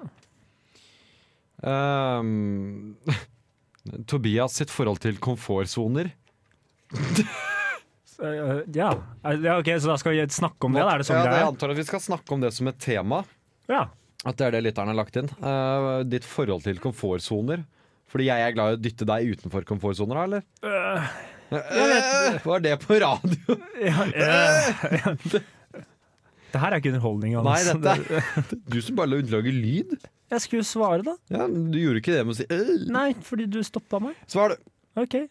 D: Ehm, Tobias sitt forhold til komfortsoner.
E: Så, eh, ja. Er- ja, ok, Så da skal vi snakke om det? da? Er det sånn
D: ja,
E: det
D: jeg
E: er?
D: antar at vi skal snakke om det som et tema.
E: Ja.
D: At det er det lytteren har lagt inn. Eh, ditt forhold til komfortsoner. Fordi jeg er glad i å dytte deg utenfor komfortsoner, da, eller? Eh, Var det på radio?
E: ja, eh, Det her er ikke underholdning.
D: Nei,
E: Anders.
D: dette er Du som bare lager lyd?
E: Jeg skulle jo svare, da.
D: Ja, men du gjorde ikke det med å si øh.
E: Nei, fordi du stoppa meg.
D: Svar, du.
E: OK. Eh,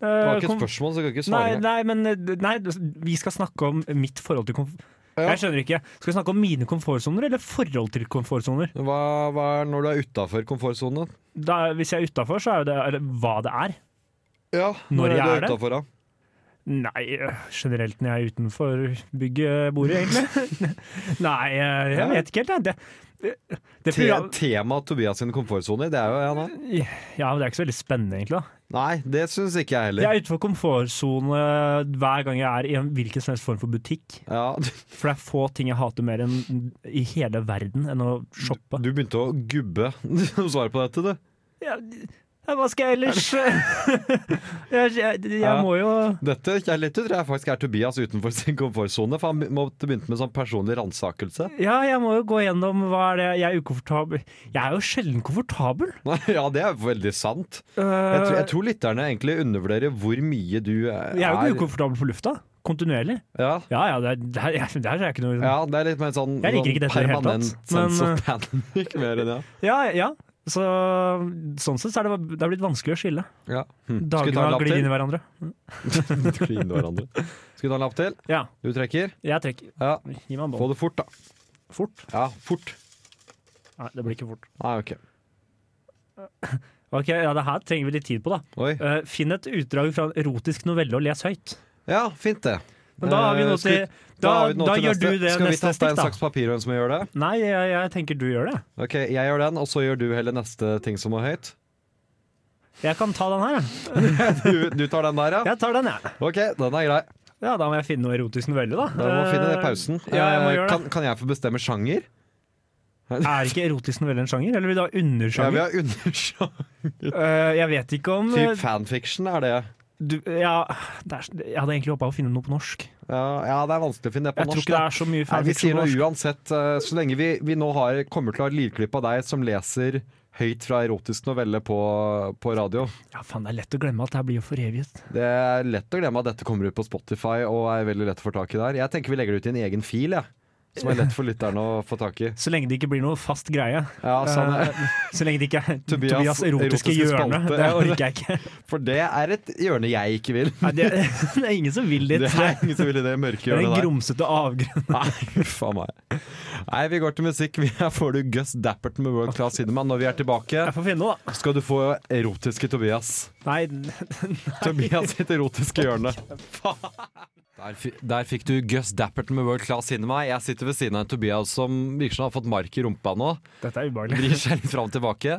D: Det var ikke
E: kom-
D: et spørsmål, så jeg kan ikke svare.
E: Nei,
D: engang.
E: nei, men eh, nei, vi skal snakke om mitt forhold til komfort...
D: Ja.
E: Jeg skjønner ikke. Skal vi snakke om mine komfortsoner eller forhold til komfortsoner?
D: Hva, hva er når du er utafor komfortsonen?
E: Da- Hvis jeg er utafor, så er jo det eller, hva det er.
D: Ja,
E: Når jeg
D: du
E: er det?
D: utenfor, da?
E: Nei, eh, generelt når jeg er utenfor bygget jeg bor i, egentlig. nei, eh, jeg vet ikke helt, jeg. Det, det, det
D: Te
E: program-
D: tema Tobias sine komfortsoner, det er jo ja, nei.
E: Ja, men det er ikke så veldig spennende, egentlig. da.
D: nei, det syns ikke jeg
E: Jeg
D: heller.
E: er utenfor komfortsone hver gang jeg er i en hvilken som helst form for butikk.
D: Ja, du,
E: For det er få ting jeg hater mer enn i hele verden enn å shoppe.
D: du begynte å gubbe svaret på dette, du.
E: Ja, ja, hva skal jeg ellers jeg, jeg, jeg
D: Ja.
E: må jo
D: Dette jeg litt, tror jeg faktisk er Tobias utenfor sin komfortsone, for han be- måtte begynne med sånn personlig ransakelse.
E: Ja, jeg må jo gå gjennom hva er det jeg er ukomfortabel Jeg er jo sjelden komfortabel. Øh,
D: Nei, Ja, det er veldig sant. Jeg tror, jeg tror lytterne egentlig undervurderer hvor mye du eh, er.
E: Eh. jeg er jo ikke ukomfortabel på lufta. Kontinuerlig.
D: Ja,
E: Ja ja, det, er- det, her- jeg- det her er ikke noe
D: ja, det er litt mer sånn
E: Jeg liker
D: sånn
E: ikke dette i det hele
D: permanent
E: tatt, men, eh,
D: sense of panic. Mer enn, ja.
E: Ja, ja. Så sånn sett så er det, det er blitt vanskelig å skille.
D: Ja. Hm. Skal vi
E: Dagene
D: ta en
E: har
D: lapp
E: glidd inn i
D: til?
E: hverandre.
D: Skli inn i hverandre. Skal vi ta en lapp til?
E: Ja,
D: Du trekker?
E: jeg trekker.
D: Ja.
E: Gi meg en
D: Få
E: bånd.
D: det fort, da.
E: Fort?
D: Ja, fort.
E: Nei, det blir ikke fort.
D: Nei, ok.
E: Ok, ja, Det her trenger vi litt tid på, da.
D: Oi.
E: Eh, finn et utdrag fra en erotisk novelle og les høyt.
D: Ja, fint det.
E: Men da har vi
D: Eh,
E: noe
D: skal
E: til
D: vi-
E: Da,
D: har vi
E: da,
D: noe til
E: gjør
D: neste.
E: du det
D: Skal vi ta
E: neste stikk,
D: stein,
E: da.
D: saks, papir hvem som gjør det?
E: Nei, jeg, jeg tenker du gjør det.
D: Ok, Jeg gjør den, og så gjør du heller neste ting som må høyt.
E: Jeg kan ta den her, jeg.
D: Du, du tar den der, ja?
E: Jeg tar den, jeg.
D: Ok, den er grei.
E: Ja, da må jeg finne noe erotisk novelle, da.
D: Da må vi finne det i pausen.
E: Eh, Ja, jeg må
D: Eh,
E: gjøre det.
D: Kan, kan jeg få bestemme sjanger?
E: Er ikke erotisk novelle en sjanger, eller vil du ha
D: Ja, vi
E: undersjanger?
D: har undersjanger.
E: Eh, jeg vet ikke om eh,
D: Typ fanfiction er det.
E: du, ja, det er, Jeg hadde egentlig håpa å finne noe på norsk. Jeg
D: Ja, ja, det er vanskelig å finne det på
E: tror
D: norsk.
E: ikke
D: da.
E: det er så
D: Nei,
E: mye
D: vi
E: fanfiction
D: sier
E: på
D: noe
E: norsk.
D: uansett. eh, Så lenge vi, vi nå har, kommer til å ha et lydklipp av deg som leser høyt fra erotisk novelle på, på radio.
E: Ja, faen, det er lett å glemme at det her blir jo foreviget.
D: Det er lett å glemme at dette kommer ut på Spotify og er veldig lett å få tak i der. Jeg tenker vi legger det ut i en egen fil, jeg. som er lett for lytterne å få tak i.
E: Så lenge det ikke blir noe fast greie.
D: Ja, sånn,
E: Eh, så lenge det ikke er
D: Tobias
E: Tobias, erotiske,
D: erotiske
E: hjørne.
D: spalte.
E: Det orker jeg ikke.
D: Eh, For det er et hjørne jeg ikke vil.
E: Nei, det, det er ingen som vil
D: Det
E: dit.
D: er
E: Det
D: ingen som vil i det mørke
E: er en
D: hjørnet der.
E: grumsete avgrunn.
D: Nei, faen meg. Nei, vi går til musikk. Vi- Her får du Gus Dapperton med World Class Cinema. Når vi er tilbake,
E: Jeg får finne noe, da.
D: skal du få erotiske Tobias.
E: Nei,
D: Tobias sitt erotiske hjørne. Der, fi- der fikk du Gus Dapperton med World Class Cinema. Jeg sitter ved siden av en Tobias som virker som han har fått mark i rumpa nå.
E: dette er ubehagelig.
D: Vrir seg litt fram og tilbake.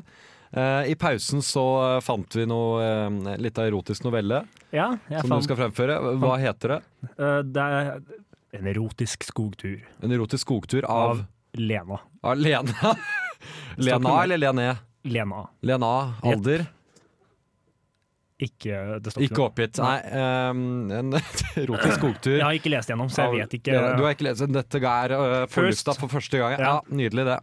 D: Eh, I pausen så eh, fant vi noe eh, litt av erotisk novelle
E: Ja, jeg
D: som du
E: fant
D: skal fremføre. Hva heter det?
E: eh, Det er en erotisk skogtur
D: En erotisk skogtur
E: av
D: av,
E: Lena.
D: av Lena. Lena
E: med-
D: eller Lené?
E: Lena.
D: Lena, alder?
E: Ikke det står
D: Ikke
E: noe.
D: oppgitt. Nei, ehm, en erotisk skogtur.
E: Jeg har ikke lest gjennom, så jeg vet ikke.
D: Du har ikke lest dette er uh, for
E: Først.
D: lufta for første gang? Ja,
E: Ja.
D: nydelig det.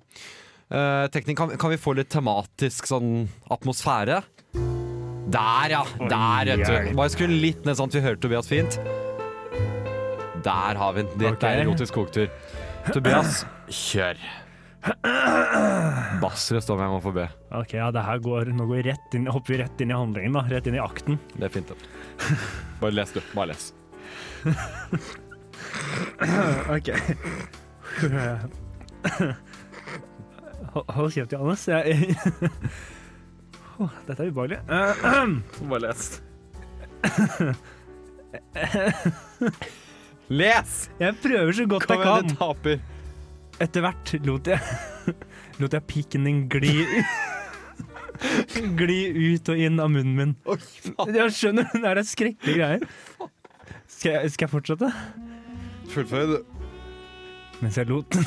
D: Eh, teknikk, kan, kan vi få litt tematisk sånn atmosfære? Der, ja! Der, vet du.
E: hjelp.
D: Bare skru litt ned sånn at vi hører Tobias fint. Der har vi den. Dette
E: Ok.
D: er erotisk skogtur. Tobias, kjør. Bassrøst om jeg må få be.
E: Ok, ja, det her går, nå går vi rett inn, hopper vi rett inn i handlingen, da. Rett inn i akten.
D: Det er fint. det. Bare les, du. Bare les.
E: Ok. Hold kjeft, Johannes. Jeg... Åh, Dette er ubehagelig.
D: Bare les. Les!
E: Jeg prøver så godt
D: Kom
E: jeg
D: igjen,
E: kan.
D: du taper.
E: Etter hvert lot jeg, lot jeg piken din gli Gli ut og inn av munnen min.
D: Oi, faen.
E: Jeg skjønner, det er skrekkelige greier. Skal jeg, skal jeg fortsette?
D: Fullføyd.
E: Mens jeg lot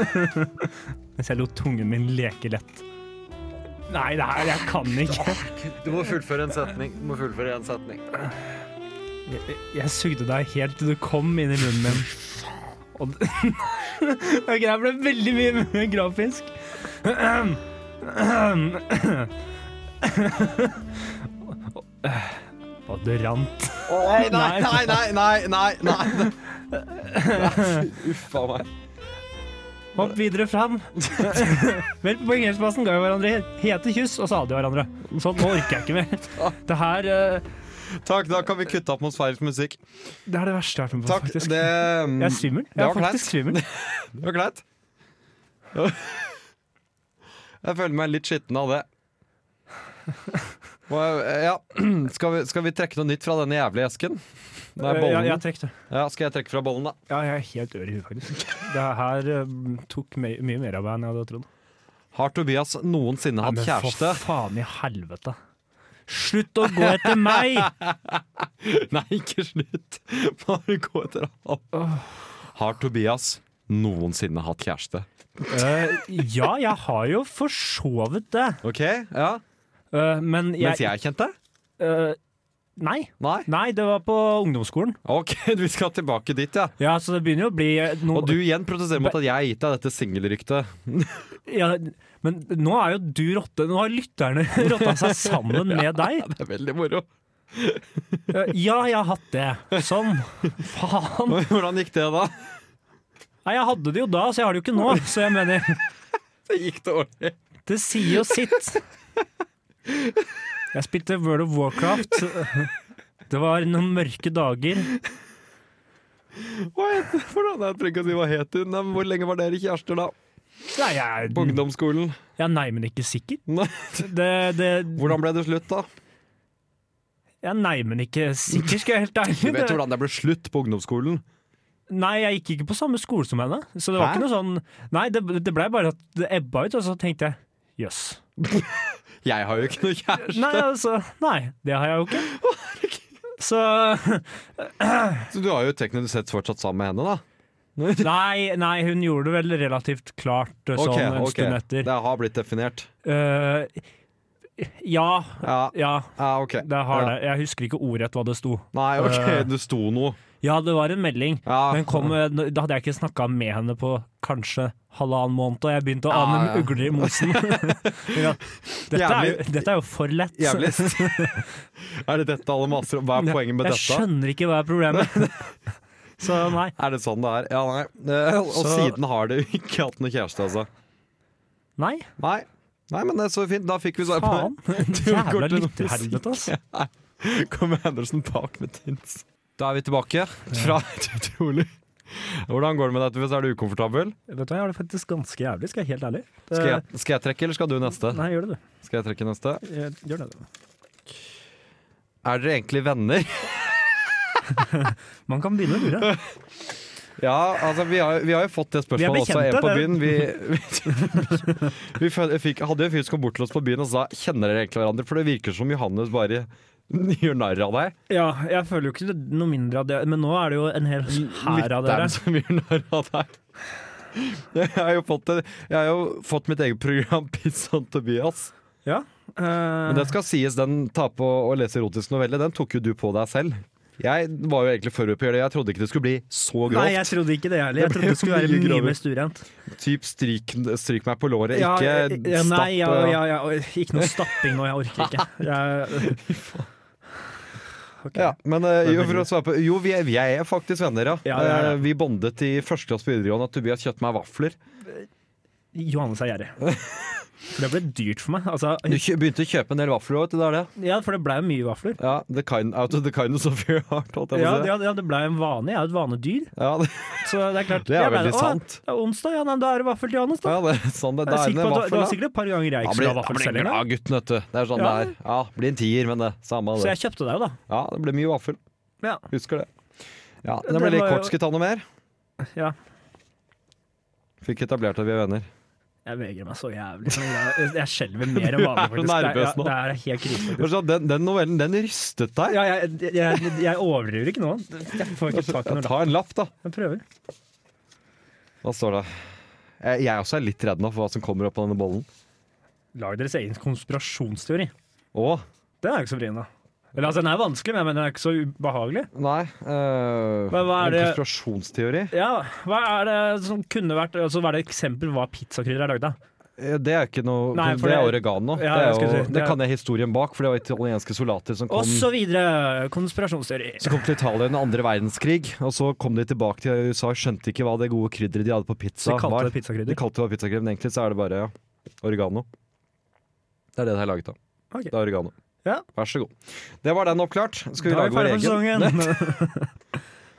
E: Mens jeg lot tungen min leke lett. Nei, det her, jeg kan ikke.
D: Du må fullføre en setning. Du må fullføre en setning.
E: Jeg, jeg sugde deg helt til du kom inn i munnen min. Og d- OK, det her ble veldig mye mer grafisk. Og det rant.
D: Nei,
E: nei, nei,
D: nei, nei, nei. Uff a meg.
E: Hopp videre fram. Vel, på parkeringsplassen ga jo hverandre hete kyss og sa det til hverandre. Sånn, nå orker jeg ikke mer. Det her eh,
D: Takk, da kan vi kutte atmosfærisk musikk.
E: Det er det verste jeg har vært med på,
D: Takk.
E: faktisk.
D: Det,
E: Jeg er svimmel.
D: Det
E: Jeg
D: var
E: er faktisk svimmel.
D: det var greit. Jeg føler meg litt skitten av det. Må jeg- Ja. Skal, vi, skal vi trekke noe nytt fra denne jævlige esken? Det er
E: Eh, ja, jeg
D: bollen.
E: har trukket det.
D: Ja, skal jeg trekke fra bollen, da?
E: Ja, jeg er helt ør i huet, faktisk. Det her eh, tok me- mye mer av meg enn jeg hadde trodd.
D: Har Tobias noensinne hatt
E: Men
D: kjæreste?
E: for faen i helvete. Slutt å gå etter meg!
D: Nei, ikke slutt. Bare gå etter ham. Har Tobias noensinne hatt kjæreste?
E: Eh, ja, jeg har jo forsovet det,
D: Ok, ja.
E: Eh, men jeg,
D: Mens jeg kjente?
E: eh, Nei.
D: Nei.
E: Nei, det var på ungdomsskolen.
D: Ok, vi skal tilbake dit, ja.
E: Ja, så det begynner jo å bli eh, nå-
D: Og du igjen protesterer mot at jeg har gitt deg dette singelryktet.
E: ja, Men nå er jo du rotte. Nå har lytterne rotta seg sammen med deg.
D: Det er veldig moro.
E: Eh, Ja, jeg har hatt det. Sånn. Faen.
D: Hvordan gikk det, da?
E: Nei, jeg hadde det jo da, så jeg har det jo ikke nå. Så jeg mener
D: Det gikk dårlig.
E: Det sier jo sitt. Jeg spilte World of Warcraft. Det var noen mørke dager.
D: Hva het Hvordan jeg trenger ikke å si hva het hun? Nei, men Hvor lenge var dere kjærester, da?
E: Nei, jeg,
D: På ungdomsskolen?
E: ja, nei men ikke sikker.
D: Nei.
E: Det, det,
D: Hvordan ble det slutt, da?
E: ja, nei, men ikke sikker, skal jeg være helt
D: Du
E: ærlig.
D: vet jo hvordan det ble slutt på ungdomsskolen.
E: Nei, jeg gikk ikke på samme skole som henne. Så det
D: Hæ?
E: var ikke noe sånn Nei, det, det blei bare at det ebba ut, og så tenkte jeg jøss.
D: Jeg har jo ikke noe kjæreste.
E: Nei, altså, nei, det har jeg jo ikke. Så
D: Så du har jo teknisk sett fortsatt sammen med henne, da?
E: Nei, nei, hun gjorde det vel relativt klart eh, sånn
D: Ok,
E: en
D: ok.
E: stund etter.
D: Det har blitt definert.
E: Eh, ja,
D: Ja,
E: ja,
D: ja ok.
E: det har
D: ja.
E: det. Jeg husker ikke ordrett hva det sto.
D: Nei, ok,
E: Eh.
D: det sto noe.
E: Ja, det var en melding.
D: Ja.
E: Den kom, eh, da hadde jeg ikke snakka med henne på kanskje halvannen måned, og jeg begynte å
D: Ja,
E: ane
D: ja.
E: ugler i mosen. ja. dette, er, jo-
D: Jævlig-
E: dette er jo for lett.
D: Jævlig. er det dette alle maser om? Hva er poenget med
E: jeg
D: dette?
E: skjønner ikke hva er problemet. Så nei.
D: Er det sånn det er? Ja, nei. Eh, Og
E: Så-
D: siden har du ikke hatt noe kjæreste, altså.
E: Nei,
D: Nei. Nei, men det er så fint. Da fikk vi svar på
E: faen. Jævla lytterhelvete, altså. ass.
D: det. Kommer Andersen bak med tins. Da er vi tilbake fra et utrolig Hvordan går det med deg, Tuves? Er du ukomfortabel?
E: Vet du hva, jeg har det faktisk ganske jævlig, skal jeg være helt ærlig. Det-
D: Skal jeg, skal jeg trekke, eller skal du neste?
E: Eh. Nei, gjør det, du.
D: Skal jeg trekke neste?
E: Eh, Gjør det, du.
D: Er dere egentlig venner?
E: Man kan begynne å lure.
D: Ja, altså vi har, vi har jo fått det
E: Vi er
D: spørsmålet også, en
E: bekjente,
D: på
E: det.
D: byen. Vi, vi, vi fø- fikk, hadde jo en fyr som kom bort til oss på byen og sa Kjenner dere egentlig hverandre? For det virker som Johannes bare gjør narr av deg.
E: Ja, jeg føler jo ikke det- noe mindre av det, men nå er det jo en hel hær av dere.
D: Lytteren som gjør narr av deg. Jeg har, jo fått det. jeg har jo fått mitt eget program, Piss on Tobias.
E: Ja. eh,
D: Men det skal sies, den ta på å lese erotisk novelle, den tok jo du på deg selv. Jeg var jo egentlig forberedt på å gjøre det, jeg trodde ikke det skulle bli så grovt.
E: Nei, jeg trodde ikke det heller. Jeg
D: Det
E: trodde
D: ble
E: det skulle være
D: mye
E: mye
D: grovere.
E: mer stuerent.
D: Typ stryk, stryk meg på låret,
E: Ja,
D: ikke
E: ja,
D: stapp.
E: nei, ja,
D: eh,
E: ja, ja, ikke noe stapping nå, jeg orker ikke. Jeg,
D: Ja, men eh, jo, for å svare på Jo, vi er, vi er faktisk venner, ja.
E: Ja, vi er det.
D: Eh, vi bondet i første klasse på videregående at Tobias kjøpte meg vafler.
E: Johannes er gjerrig. For det ble dyrt for meg. Altså,
D: Du kjø- begynte å kjøpe en del vafler òg, vet du. Det er det.
E: ja, for det blei jo mye vafler.
D: Ja, the kind, out of the kindness of your heart, holdt jeg
E: Ja,
D: på å si.
E: ja, ja, det blei en vane. Jeg er jo et vanedyr.
D: Ja, det,
E: Så det er klart
D: Det er
E: jeg ble-
D: veldig
E: Å,
D: sant.
E: Det er onsdag, ja, nei, da er det vaffel til Johannes, da.
D: ja, det er sånn det da
E: Jeg er
D: er.
E: sikker på at det, det
D: vaffel,
E: var
D: da.
E: sikkert et par ganger jeg
D: Han
E: ikke
D: blir,
E: skulle ha
D: han
E: vaffel
D: blir
E: selv engang.
D: glad, gutten, vet du. Det er sånn
E: Ja.
D: det er. Ja, blir en tier, men det samme
E: Så
D: det.
E: jeg kjøpte deg jo, da.
D: Ja, det ble mye vaffel.
E: Ja.
D: Husker det. Ja,
E: Det
D: Den ble litt
E: var jo-
D: kort. Skal vi ta noe mer?
E: ja.
D: Fikk etablert at vi er venner.
E: Jeg vegrer meg så jævlig. sånn, Jeg, jeg skjelver mer enn vanlig,
D: Du er
E: faktisk.
D: så nervøs nå.
E: Det er, ja, det er helt krise.
D: Det var sånn, Den, den novellen, den rystet deg.
E: Ja, jeg, jeg, jeg, jeg overdriver ikke nå. Jeg får ikke tak i noe. da.
D: Ta en lapp, da.
E: Jeg prøver.
D: Hva står det? Eh, Jeg, jeg også er litt redd nå for hva som kommer opp av denne bollen.
E: Lag deres egen konspirasjonsteori.
D: Å,
E: Den er ikke så vrien, da. Eller, altså, den er vanskelig, men den er ikke så ubehagelig.
D: nei. øh,
E: Men hva er
D: en
E: det-
D: konspirasjonsteori?
E: Ja, Hva er det som kunne vært altså, Hva er det eksempel hva pizzakrydder er lagd av?
D: Eh, Det er ikke noe
E: Nei, for
D: Det er
E: det-
D: oregano.
E: Ja,
D: det,
E: jeg
D: er
E: skulle
D: jo,
E: si, det
D: det
E: er-
D: kan jeg historien bak, for det var italienske soldater som
E: Og
D: kom,
E: så videre! Konspirasjonsteori.
D: som kom til Italia under andre verdenskrig. Og så kom de tilbake til USA og skjønte ikke hva det gode krydderet de hadde på pizza
E: De kalte
D: var.
E: det pizzakrydder.
D: De kalte det bare pizzakrem, men egentlig så er det bare ja, oregano. Det er det det er laget av.
E: Ok.
D: Det er oregano.
E: Ja.
D: Vær så god. Det var den oppklart. Skal vi
E: Da er
D: lage vår
E: ferdig for
D: egen?
E: sesongen.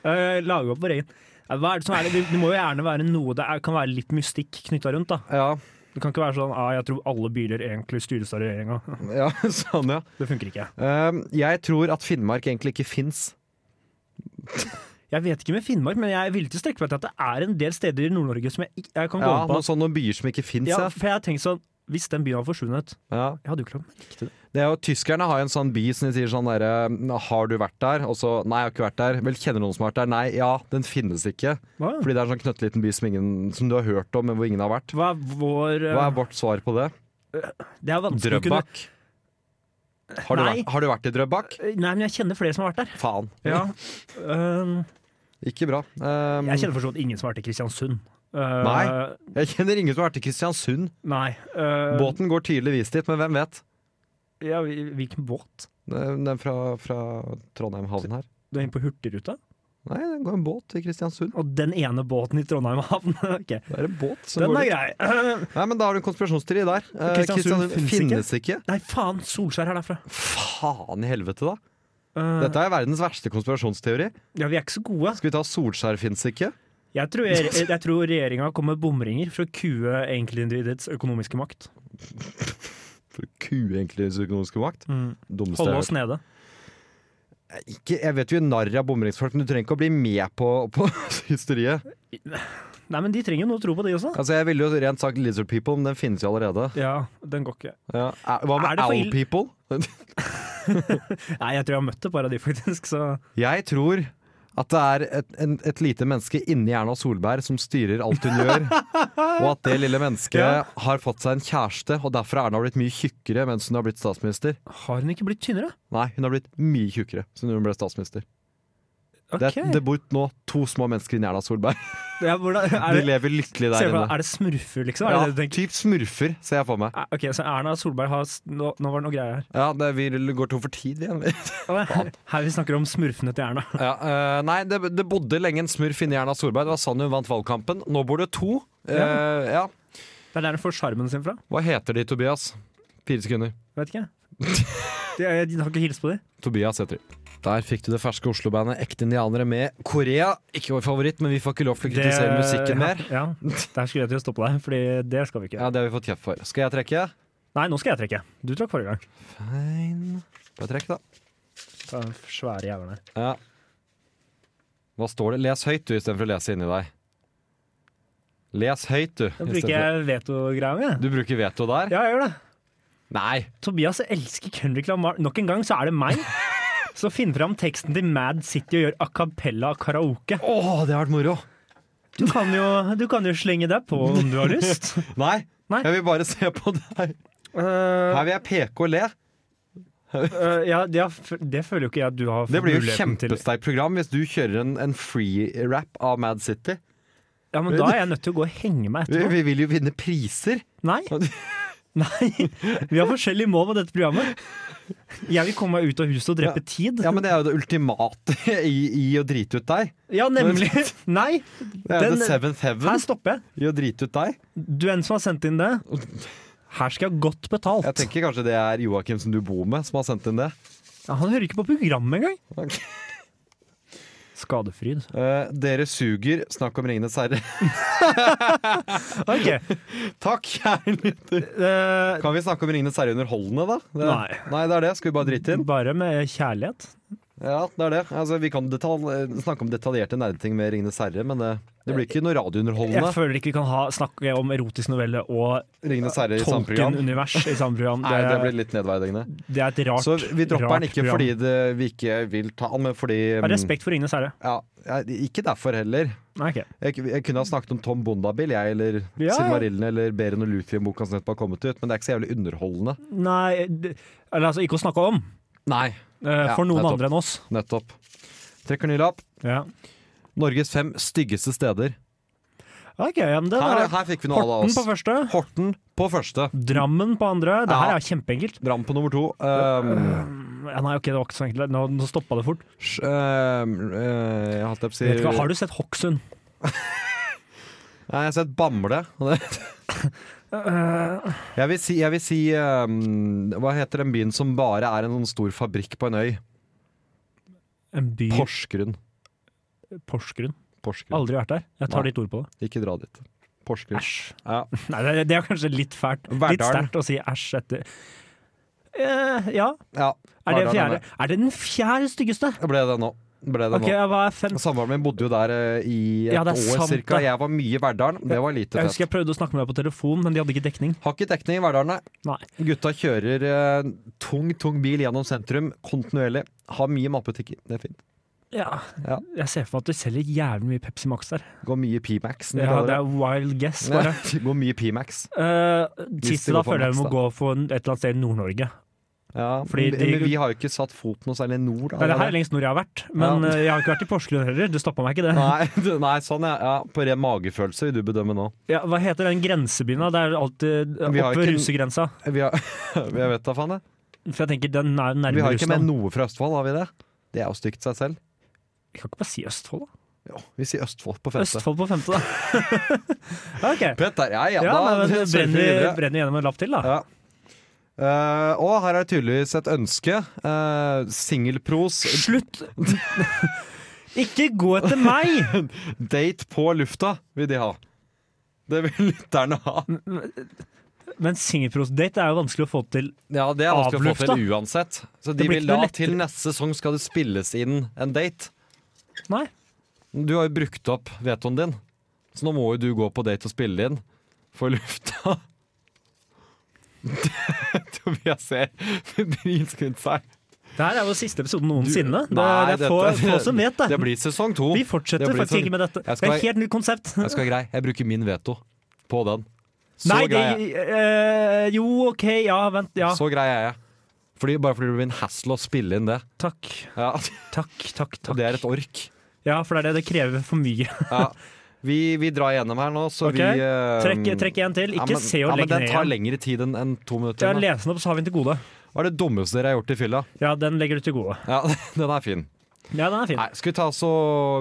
E: Eh, Lage opp vår egen. Eh, Hva er det som er det? Det det må jo gjerne være noe det er, kan være litt mystikk knytta rundt. da.
D: Ja,
E: Det kan ikke være sånn ah, 'jeg tror alle biler egentlig styres av regjeringa'.
D: ja, sånn, ja.
E: Det funker ikke.
D: Ehm, jeg tror at Finnmark egentlig ikke fins.
E: Jeg vet ikke med Finnmark, men jeg er villig til å strekke meg til at det er en del steder i Nord-Norge som jeg, ikke- jeg kan gå
D: Ja,
E: med på.
D: noen sånne byer som ikke fins.
E: Ja,
D: Ja.
E: for jeg har tenkt sånn Hvis den byen hadde forsvunnet
D: Ja.
E: Jeg hadde jo ikke lov
D: Det er jo, tyskerne har jo en sånn by som de sier sånn derre Har du vært der? Og så Nei, jeg har ikke vært der. Vel, kjenner du noen som har vært der? Nei, ja, den finnes ikke.
E: Hva,
D: Fordi det er en sånn knøttliten by som, ingen, som du har hørt om, men hvor ingen har vært.
E: hva er vår eh,
D: Hva er vårt svar på det?
E: Det er vanskelig å kunne
D: Drøbak. Har du,
E: Nei.
D: vært, har du vært i Drøbak?
E: Eh, Nei, men jeg kjenner flere som har vært der.
D: Faen.
E: Eh,
D: Ikke bra. Ehm,
E: jeg kjenner for så vidt ingen som har vært i Kristiansund. Eh,
D: Nei. jeg kjenner ingen som har vært i Kristiansund.
E: Nei. eh,
D: Båten går tydeligvis dit, men hvem vet? Ehm,
E: Ja, hvil- hvilken båt?
D: Den den fra, fra Trondheim havn her.
E: Du er inne på Hurtigruta?
D: Nei, det går en båt til Kristiansund.
E: Og den ene båten i Trondheim havn? Ok,
D: Det er en båt som
E: Den
D: går
E: er grei. Eh,
D: Nei, men Da har du en konspirasjonsteori der. Eh, Kristiansund
E: Kristiansund finnes
D: finnes ikke.
E: Nei, faen! Solskjær er derfra.
D: Faen i helvete, da.
E: Eh,
D: Dette er verdens verste konspirasjonsteori.
E: ja, vi er ikke så gode.
D: Skal vi ta Solskjær fins ikke?
E: Jeg tror, jeg, jeg tror regjeringa kom med bomringer for å kue enkeltindividets økonomiske makt.
D: For å kue egentlig dens økonomiske makt. Dummeste
E: Holde
D: jeg
E: oss nede.
D: har hørt. Ikke, jeg vet jo narr av bomringsfolk, men du trenger ikke å bli med på, på hysteriet.
E: Nei, men de trenger jo noe å tro på, de også.
D: Altså, jeg ville jo rent sagt Lizard People, men den finnes jo allerede.
E: Ja, den går ikke.
D: Ja. Er- Hva
E: Er
D: med
E: det for
D: Owl
E: ill-
D: People?
E: Nei, jeg tror jeg har møtt et par av de, faktisk. Så
D: Jeg tror at det er et, en, et lite menneske inni Erna Solberg som styrer alt hun gjør. Og at det lille mennesket
E: Ja.
D: har fått seg en kjæreste, og derfor har Erna blitt mye tjukkere mens hun har blitt statsminister.
E: har hun ikke blitt tynnere?
D: Nei, hun har blitt mye tjukkere siden hun ble statsminister. Det,
E: Ok.
D: er, det bor nå to små mennesker inni Erna Solberg.
E: Ja, hvordan,
D: De
E: er, det,
D: lever lykkelig
E: ser
D: der
E: du for deg-
D: inne.
E: er det smurfer, liksom? Er
D: Ja,
E: det det du tenker?
D: typ smurfer, ser jeg for meg.
E: Eh, Ok, så Erna Solberg har s- Nå, nå var det noe greier her.
D: Ja, det, Vi går tom for tid igjen. vi.
E: Her, her vi snakker om smurfene til Erna.
D: Ja, eh, nei, det, det bodde lenge en smurf inni Erna Solberg. Det var sånn hun vant valgkampen. Nå bor det to. Eh, ja.
E: Det er der hun får sjarmen sin fra.
D: Hva heter de, Tobias? Fire sekunder.
E: Vet ikke. De, jeg, de har ikke hilst på dem.
D: Tobias heter de. Der fikk du det ferske Oslo-bandet Ekte indianere med Korea. Ikke vår favoritt, men vi får ikke lov til å kritisere musikken mer.
E: Ja, Der skulle jeg til å stoppe deg, Fordi det skal vi ikke.
D: Ja, Det har vi fått kjeft for. Skal jeg trekke?
E: Nei, nå skal jeg trekke. Du trakk forrige gang.
D: Fine. Bare trekk, da.
E: Ta den svære jævelen her.
D: Ja. Hva står det? Les høyt, du, istedenfor å lese inni deg. Les høyt, du.
E: Da
D: i
E: bruker
D: stedet for-
E: jeg veto-greia mi. jeg.
D: Du bruker veto der?
E: Ja, jeg gjør det.
D: Nei!
E: Tobias elsker Kendrick Lamar. Nok en gang så er det meg. Så finn fram teksten til Mad City og gjør a cappella av karaoke.
D: Å, det har vært moro!
E: Du kan, jo, du kan jo slenge deg på om du har lyst.
D: Nei,
E: Nei.
D: jeg vil bare se på deg.
E: Eh,
D: Her vil jeg peke og le.
E: eh, ja, ja, f- det føler jo ikke jeg at du har
D: Det blir jo
E: muligheten til.
D: kjempesterkt program hvis du kjører en, en free-rap av Mad City.
E: Ja, men Da er jeg nødt til å gå og henge meg
D: Vi,
E: etterpå.
D: vi vil jo vinne priser.
E: Nei. Nei. Vi har forskjellige mål med dette programmet. Jeg vil komme meg ut av huset og drepe tid.
D: Ja, men det er jo det ultimate i, i å drite ut deg.
E: Ja, nemlig. Nei,
D: Det er jo
E: Den-
D: the seventh
E: her
D: heaven
E: stopper jeg.
D: i å drite ut deg.
E: Du er en som har sendt inn det. Her skal jeg ha godt betalt.
D: Jeg tenker kanskje det er Joakim som du bor med, som har sendt inn det.
E: Ja, han hører ikke på programmet engang.
D: Ok.
E: Skadefryd.
D: Eh, dere suger. Snakk om Ringenes herre.
E: Ok.
D: Takk, kjære lytter.
E: eh,
D: Kan vi snakke om Ringenes herre underholdende, da? Det,
E: Nei.
D: det er det. Skal vi bare drite inn?
E: bare med kjærlighet.
D: Ja, det er det. Altså, vi kan detal snakke om detaljerte nerdeting med Ringenes herre, men det, det blir ikke noe
E: Eh, Jeg
D: radiounderholdende.
E: føler ikke vi kan ha, snakke om erotisk novelle og
D: Ringenes herre i samme program.
E: Tolkien-univers i samme program.
D: Nei, det
E: Det,
D: blir litt nedverdigende.
E: det er et rart
D: Så vi dropper
E: rart
D: den ikke
E: program.
D: fordi det, vi ikke vil ta den, men fordi mm,
E: Ja, Respekt for Ringenes herre.
D: Ja, jeg- ikke derfor heller.
E: Nei, ok.
D: Jeg, jeg kunne ha snakket om Tom Bondabil, jeg, eller
E: Ja.
D: Silmarillen, eller Beren og Luthien-boka som nettopp har kommet ut, men det er ikke så jævlig underholdende.
E: Nei, det- eller altså ikke å snakke om.
D: Nei.
E: eh,
D: Ja,
E: for noen
D: nettopp.
E: andre enn oss.
D: Nettopp. Trekker ny lapp.
E: Ja.
D: Norges fem styggeste steder.
E: Ok, ja, men det
D: Her,
E: er
D: her fikk vi noe av
E: Horten
D: oss.
E: på første,
D: Horten på første.
E: Drammen på andre. Det her
D: Ja.
E: er kjempeenkelt.
D: Dram på nummer to. Um,
E: Ja, nei, ok, det var ikke så enkelt. Nå, nå stoppa det fort.
D: sj- um, uh, jeg holdt på å si
E: Vet du hva, har du sett Hokksund?
D: Nei, jeg har sett Bamble. jeg vil si, jeg vil si um, Hva heter den byen som bare er en sånn stor fabrikk på en øy?
E: En by
D: Porsgrunn.
E: Porsgrunn.
D: Porsgrunn.
E: Aldri vært der. Jeg tar
D: Nei.
E: ditt ord på det.
D: Ikke dra dit. Porsgrunn.
E: Æsj.
D: Ja.
E: Nei, det, er- det er kanskje litt fælt. Litt
D: Verdalen.
E: sterkt å si æsj etter. Eh, ja.
D: ja.
E: Er det,
D: Verdalen
E: fjerde?
D: er med.
E: er det den fjerde styggeste?
D: Ble det nå. Ble det
E: Ok,
D: nå.
E: ja, hva er fem?
D: Samboeren min bodde jo der eh, i et
E: Ja, det er
D: år
E: sant,
D: cirka.
E: det.
D: Jeg var mye i Verdalen. Det var lite
E: Jeg
D: fett.
E: husker jeg prøvde å snakke med deg på telefon, men de hadde ikke dekning.
D: Har ikke dekning i Verdalen, nei.
E: Nei.
D: Gutta kjører eh, tung, tung bil gjennom sentrum kontinuerlig. Har mye matbutikker, det er fint.
E: Ja.
D: Ja.
E: Jeg ser for meg at de selger jævlig mye Pepsi Max der.
D: Går mye P-Max. som de
E: Ja,
D: kaller
E: det er wild guess,
D: det.
E: bare.
D: Går mye P-Max.
E: Uh,
D: Hvis de
E: Siste
D: går
E: da
D: for
E: føler jeg
D: Max,
E: vi må
D: da.
E: gå for et eller annet sted i Nord-Norge.
D: Ja,
E: Fordi
D: men,
E: de-
D: men vi har jo ikke satt foten noe særlig nord. da.
E: Nei, det her er lengst nord jeg har vært, men
D: Ja.
E: eh, jeg har ikke vært i Porsgrunn heller. Det stoppa meg ikke, det.
D: Nei, du- nei, sånn ja. ja. På ren magefølelse vil du bedømme nå.
E: Ja, hva heter den grensebyen da? Det er alltid eh,
D: Vi har
E: oppe
D: ikke-
E: ved russegrensa.
D: Vi har, jeg vet da faen, jeg.
E: For jeg tenker den er jo
D: Vi
E: nærmere
D: har ikke med
E: Russland.
D: noe fra Østfold, har vi det? Det er jo stygt seg selv.
E: Vi kan ikke bare si Østfold, da.
D: Jo, vi sier Østfold på femte.
E: Østfold på femte, da. ok.
D: Petter, ja, ja,
E: Ja, nei,
D: da
E: men
D: surfer vi
E: brenner vi
D: videre.
E: brenner vi gjennom en lapp til, da.
D: Ja. Eh, og her er det tydeligvis et ønske. Uh, Singelpros,
E: Slutt! ikke gå etter meg!
D: date på lufta vil de ha. Det vil lytterne ha.
E: Men singelprosdate er jo vanskelig å få til.
D: Ja, Det er vanskelig å få
E: Avlufta?
D: til uansett. Så
E: Det
D: de
E: blir
D: vil
E: ikke noe
D: da
E: lettere.
D: til neste sesong skal det spilles inn en date.
E: Nei.
D: Du har jo brukt opp vetoen din, så nå må jo du gå på date og spille inn for lufta. Tobias ser febrilsk rundt seg.
E: Det her er jo siste episoden noensinne. Det,
D: Nei,
E: det er få,
D: dette-
E: få som vet
D: Det
E: det.
D: blir sesong to.
E: Vi fortsetter
D: det blir
E: faktisk
D: sånn-
E: ikke med dette.
D: Jeg
E: Det
D: skal
E: er
D: være-
E: et helt nytt konsept.
D: Jeg skal være grei. Jeg bruker min veto på den. Så
E: Nei, det
D: grei er jeg.
E: eh, Jo, OK, ja, vent. Ja.
D: Så grei er jeg. Fordi, bare fordi det blir en hassle å spille inn det.
E: Takk.
D: Ja,
E: Takk, takk,
D: og
E: takk.
D: Det er et ork.
E: Ja, for det er det. Det krever for mye.
D: Ja. Vi, vi drar gjennom her nå, så
E: Ok,
D: vi eh,
E: Trekk, trekk en til.
D: ja,
E: Ikke
D: men-
E: se og
D: ja, men
E: legg
D: Den tar
E: ned igjen.
D: lengre tid enn enn to minutter.
E: Ja,
D: igjen, da.
E: les den opp, så har vi den til gode.
D: Hva er det dummeste dere har gjort i fylla?
E: Ja, den legger du til gode.
D: Ja, den er fin.
E: Ja, den er fin.
D: Nei, skal vi ta så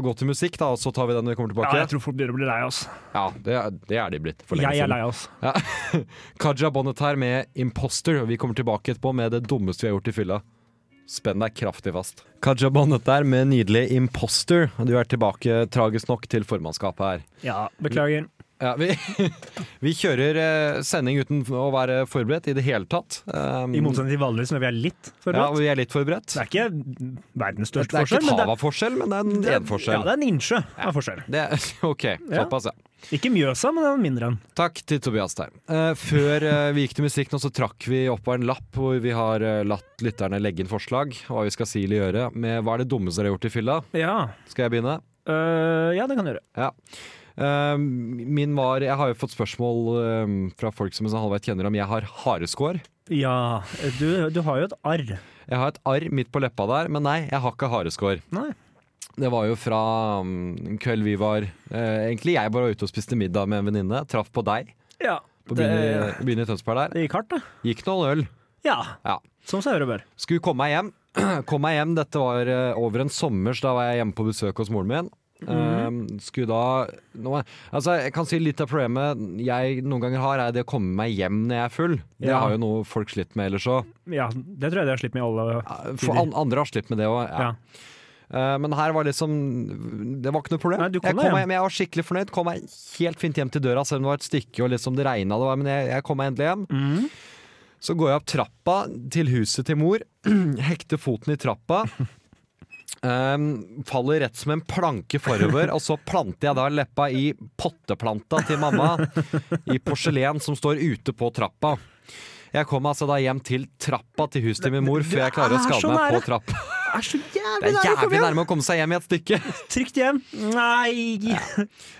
D: gå til musikk, da, og så tar vi den når vi kommer
E: Ja,
D: tilbake?
E: jeg tror folk begynner å bli lei oss.
D: Ja, det, er- det er de blitt for lenge
E: Jeg er
D: siden.
E: lei oss.
D: Kaja Bonnet her med 'Imposter', og vi kommer tilbake etterpå med det dummeste vi har gjort i fylla. Spenn deg kraftig fast. Kaja Bonnet der med nydelig 'Imposter'. og Du er tilbake, tragisk nok, til formannskapet her.
E: Ja, beklager.
D: Ja, vi, vi kjører eh, sending uten å være forberedt i det hele tatt. Um,
E: I motsetning til vanligvis når vi er litt
D: Ja,
E: forberedt.
D: vi er litt forberedt.
E: Det er ikke verdens
D: Det
E: største
D: er ikke
E: forskjell,
D: et
E: men
D: hav
E: det
D: av forskjell, men det er en
E: er,
D: en
E: ja,
D: forskjell.
E: det er en innsjø av forskjell.
D: Det er, OK,
E: Ja.
D: såpass, ja.
E: Ikke Mjøsa, men den er mindre enn.
D: Takk til Tobias Theim. Eh, før eh, vi gikk til musikk nå, så trakk vi opp av en lapp hvor vi har eh, latt lytterne legge inn forslag. Hva vi skal si eller gjøre med hva er det dummeste dere har gjort i fylla.
E: Ja,
D: Skal jeg begynne?
E: øh, ja det kan du gjøre.
D: Ja. Eh, min var Jeg har jo fått spørsmål eh, fra folk som en sånn halvveis kjenner om jeg har hareskår.
E: Ja, du, du har jo et arr.
D: Jeg har et arr midt på leppa der, men nei, jeg har ikke hareskår.
E: Nei.
D: Det var jo fra mm, en kveld vi var eh, Egentlig jeg bare var ute og spiste middag med en venninne. Traff på deg
E: Ja,
D: på
E: det,
D: byen, i- byen i Tønsberg der.
E: det gikk hardt, da.
D: Gikk noen øl.
E: Ja,
D: Ja.
E: som seg høre bør.
D: Skulle komme meg hjem. Kom meg hjem, Dette var eh, over en sommers, da var jeg hjemme på besøk hos moren min.
E: Mhm.
D: Eh, skulle da nå, må jeg- Altså Jeg kan si litt av problemet jeg noen ganger har, er det å komme meg hjem når jeg er full. Det
E: Ja.
D: har jo noe folk slitt med ellers òg.
E: Ja, det tror jeg de har slitt med i alle.
D: For an, andre har slitt med det òg.
E: Ja.
D: Ja. Eh, men her var liksom Det var ikke noe problem.
E: Nei, du kom
D: jeg,
E: deg
D: kom meg
E: hjem.
D: hjem, jeg var skikkelig fornøyd. Kom meg helt fint hjem til døra, selv om det var et stykke og liksom det regna. Det var, men jeg, jeg kom meg endelig hjem.
E: Mhm.
D: Så går jeg opp trappa til huset til mor, hekter foten i trappa. ehm, faller rett som en planke forover, og så planter jeg da leppa i potteplanta til mamma. I porselen som står ute på trappa. Jeg kom altså da hjem til trappa til huset til min mor før jeg klarer å
E: er så
D: skade meg
E: nære.
D: på trappa.
E: Det er så
D: Det
E: jævlig
D: er jævlig nærme å komme seg hjem i et stykke.
E: Trygt hjem. Nei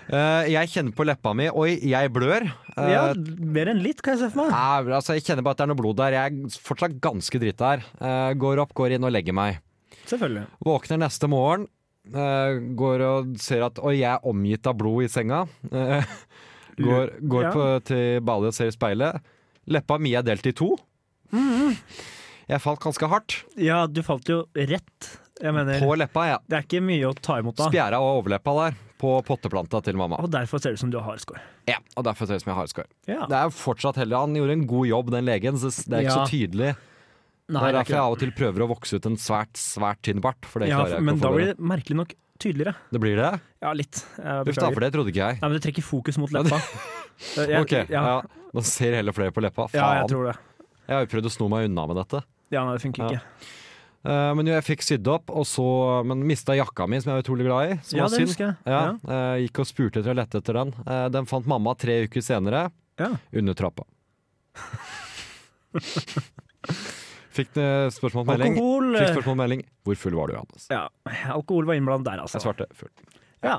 D: Eh, jeg kjenner på leppa mi Oi, jeg blør. Eh,
E: Ja, mer enn litt, kan jeg se for meg.
D: Nei, altså, jeg kjenner bare at det er noe blod der. Jeg er fortsatt ganske drita her. Eh, går opp, går inn og legger meg.
E: Selvfølgelig.
D: Våkner neste morgen. eh, går og ser at Oi, jeg er omgitt av blod i senga. Eh, går går
E: Ja.
D: på, til badet og ser i speilet. Leppa mi er delt i to. Jeg falt ganske hardt.
E: Ja, du falt jo rett. Jeg mener,
D: På leppa, ja.
E: det er ikke mye å ta imot da.
D: Spjæra og overleppa der. På potteplanta til mamma.
E: Og derfor ser det ut som du har skår.
D: Ja, og derfor ser det ut som jeg har skår.
E: Ja.
D: Det er fortsatt heldig. Han gjorde en god jobb, den legen. Så det er ikke
E: Ja.
D: så tydelig.
E: Nei,
D: det er
E: det er
D: derfor jeg
E: ikke det.
D: av og til prøver å vokse ut en svært, svært tynn bart. For det
E: Ja,
D: klarer jeg
E: men
D: ikke
E: da
D: å få
E: blir
D: det.
E: det merkelig nok tydeligere.
D: Det blir det?
E: Ja, litt.
D: Uff
E: Jeg
D: da,
E: beklager.
D: for det trodde ikke jeg.
E: Nei, men det trekker fokus mot leppa. Jeg-
D: Ok, ja.
E: ja.
D: Nå ser heller flere på leppa. Faen.
E: ja, jeg
D: jeg,
E: tror det.
D: har jo prøvd å sno meg unna med dette.
E: Ja, nei, det funker
D: Ja.
E: ikke.
D: Eh, men jo, jeg fikk sydd opp, og så, men mista jakka mi, som jeg var utrolig glad i. Som
E: Ja,
D: var
E: det
D: synd.
E: husker jeg.
D: Ja, eh, gikk og spurte etter og lette etter den. Eh, den fant mamma tre uker senere,
E: Ja.
D: under trappa. Fikk eh, spørsmål på melding.
E: Alkohol
D: Fikk spørsmål på melding. Hvor full var du, Johannes?
E: ja, Alkohol var innblandet der, altså.
D: Jeg svarte full.
E: Ja.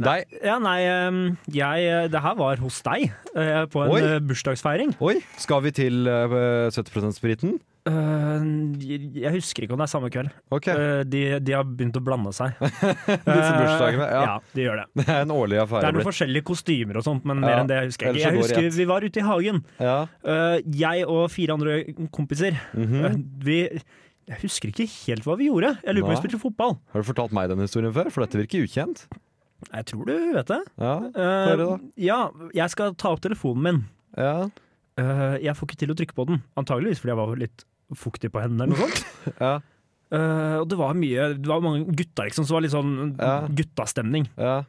D: Deg?
E: ja, nei, ehm, jeg Det her var hos deg, eh, på en
D: Oi.
E: eh, bursdagsfeiring.
D: Oi, skal vi til eh, 70 %-spriten?
E: Eh, Jeg husker ikke om det er samme kveld.
D: Ok,
E: Eh, De, de har begynt å blande seg.
D: disse bursdagene.
E: Eh,
D: Ja,
E: ja, de gjør det.
D: det er en årlig
E: Det
D: affære
E: er noen
D: blitt.
E: forskjellige kostymer og sånt, men
D: Ja,
E: mer enn det jeg husker jeg ikke.
D: ellers så går det
E: Jeg husker
D: rett.
E: Vi var ute i hagen,
D: Ja.
E: Eh, jeg og fire andre kompiser.
D: Mhm.
E: Eh, Vi jeg husker ikke helt hva vi gjorde. Jeg lurer på om vi
D: Nei.
E: spilte fotball.
D: Har du fortalt meg denne historien før? For dette virker ukjent.
E: Jeg tror du vet det.
D: Ja,
E: Eh,
D: høre da.
E: ja, jeg skal ta opp telefonen min.
D: ja.
E: Eh, jeg får ikke til å trykke på den, antageligvis fordi jeg var litt fuktig på hendene. eller noe sånt.
D: ja,
E: Eh, og det var mye, det var mange gutter, liksom, så det var litt sånn
D: Ja.
E: guttastemning.
D: ja.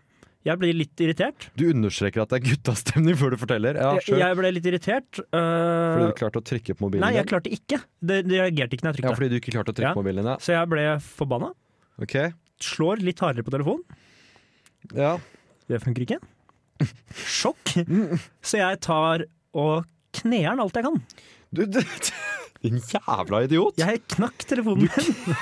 E: Jeg ble litt irritert.
D: Du understreker at det er guttastemning før du forteller. Ja,
E: Jeg,
D: sure.
E: jeg ble litt irritert. eh,
D: Fordi du klarte å trykke på mobilen
E: nei, jeg
D: din?
E: klarte ikke. Det, det reagerte ikke når jeg
D: Ja,
E: trykte.
D: fordi du ikke klarte å
E: Ja.
D: trykke på mobilen din, ja.
E: Så jeg ble forbanna.
D: Ok,
E: Slår litt hardere på telefonen.
D: ja.
E: Det funker ikke. Sjokk. Så jeg tar og kneer den alt jeg kan.
D: Du, du, din jævla idiot!
E: Jeg knakk telefonen min.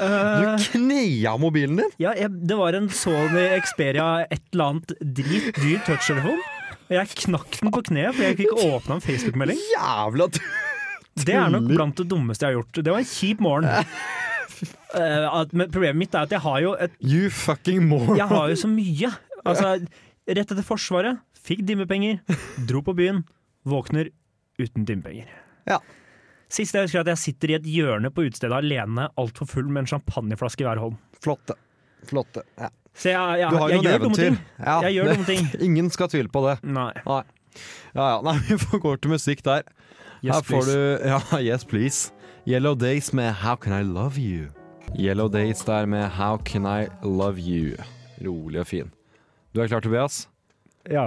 E: Eh,
D: Du knea mobilen din!
E: ja, jeg, det var en Sony Xperia et eller annet drit dyr touchtelefon. Og jeg knakk den på kneet, for jeg fikk ikke åpna en Facebook-melding.
D: Jævla du!
E: Det er nok blant det dummeste jeg har gjort. Det var en kjip morgen. Eh, at, men problemet mitt er at jeg har jo et
D: You fucking moron!
E: Jeg har jo så mye. Altså, rett etter Forsvaret, fikk dimmepenger, dro på byen, våkner uten dimmepenger.
D: Ja.
E: Sist jeg husker at jeg sitter i et hjørne på utestedet alene, altfor full med en champagneflaske i hver hånd.
D: Flotte. Flotte. Ja.
E: Så jeg, jeg,
D: Du har jo
E: jeg,
D: noen
E: gjør dumme
D: eventyr.
E: ting. Jeg gjør dumme ting.
D: Ingen skal tvile på det.
E: Nei.
D: Nei. Ja, ja. Nei, vi får gå til musikk der. Her
E: Yes,
D: får
E: please.
D: du ja, Yes Please. Yellow Days med How Can I Love You. Yellow Days der med How Can I Love You. Rolig og fin. Du er klar, Tobias?
E: Ja.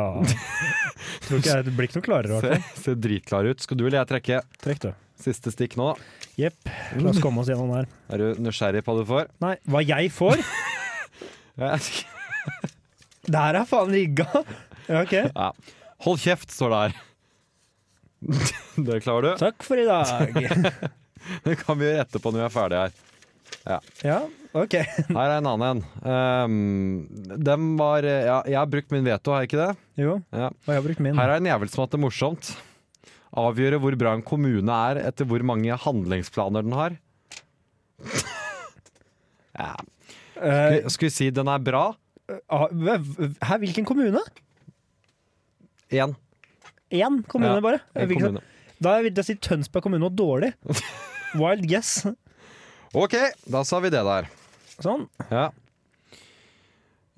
E: Tror ikke jeg, det blir ikke noe klarere.
D: Se, ser dritklar ut. Skal du eller jeg trekke
E: Trekk, du.
D: siste stikk nå?
E: Jepp. La oss komme oss gjennom her.
D: Er du nysgjerrig på hva du får?
E: Nei, hva jeg får?
D: Ja.
E: Det her er faen rigga! Ja, OK.
D: Ja. Hold kjeft, står det her. Det klarer du.
E: Takk for i dag.
D: Det kan vi gjøre etterpå når vi er ferdige her.
E: Ja, OK.
D: Her er en annen en. Um, dem var ja, Jeg har brukt min veto, har jeg ikke det?
E: Jo,
D: Ja.
E: og jeg har brukt min.
D: Her er en jævel som har hatt det morsomt. Avgjøre hvor bra en kommune er etter hvor mange handlingsplaner den har. ja.
E: Eh,
D: Skal vi si den er bra?
E: Ah, hva- Hæ, hvilken kommune?
D: Én.
E: Én kommune,
D: Ja,
E: bare?
D: En
E: Hvilken-
D: kommune.
E: Da vil jeg si Tønsberg kommune og dårlig. Wild guess.
D: OK, da sa vi det der.
E: Sånn.
D: Ja.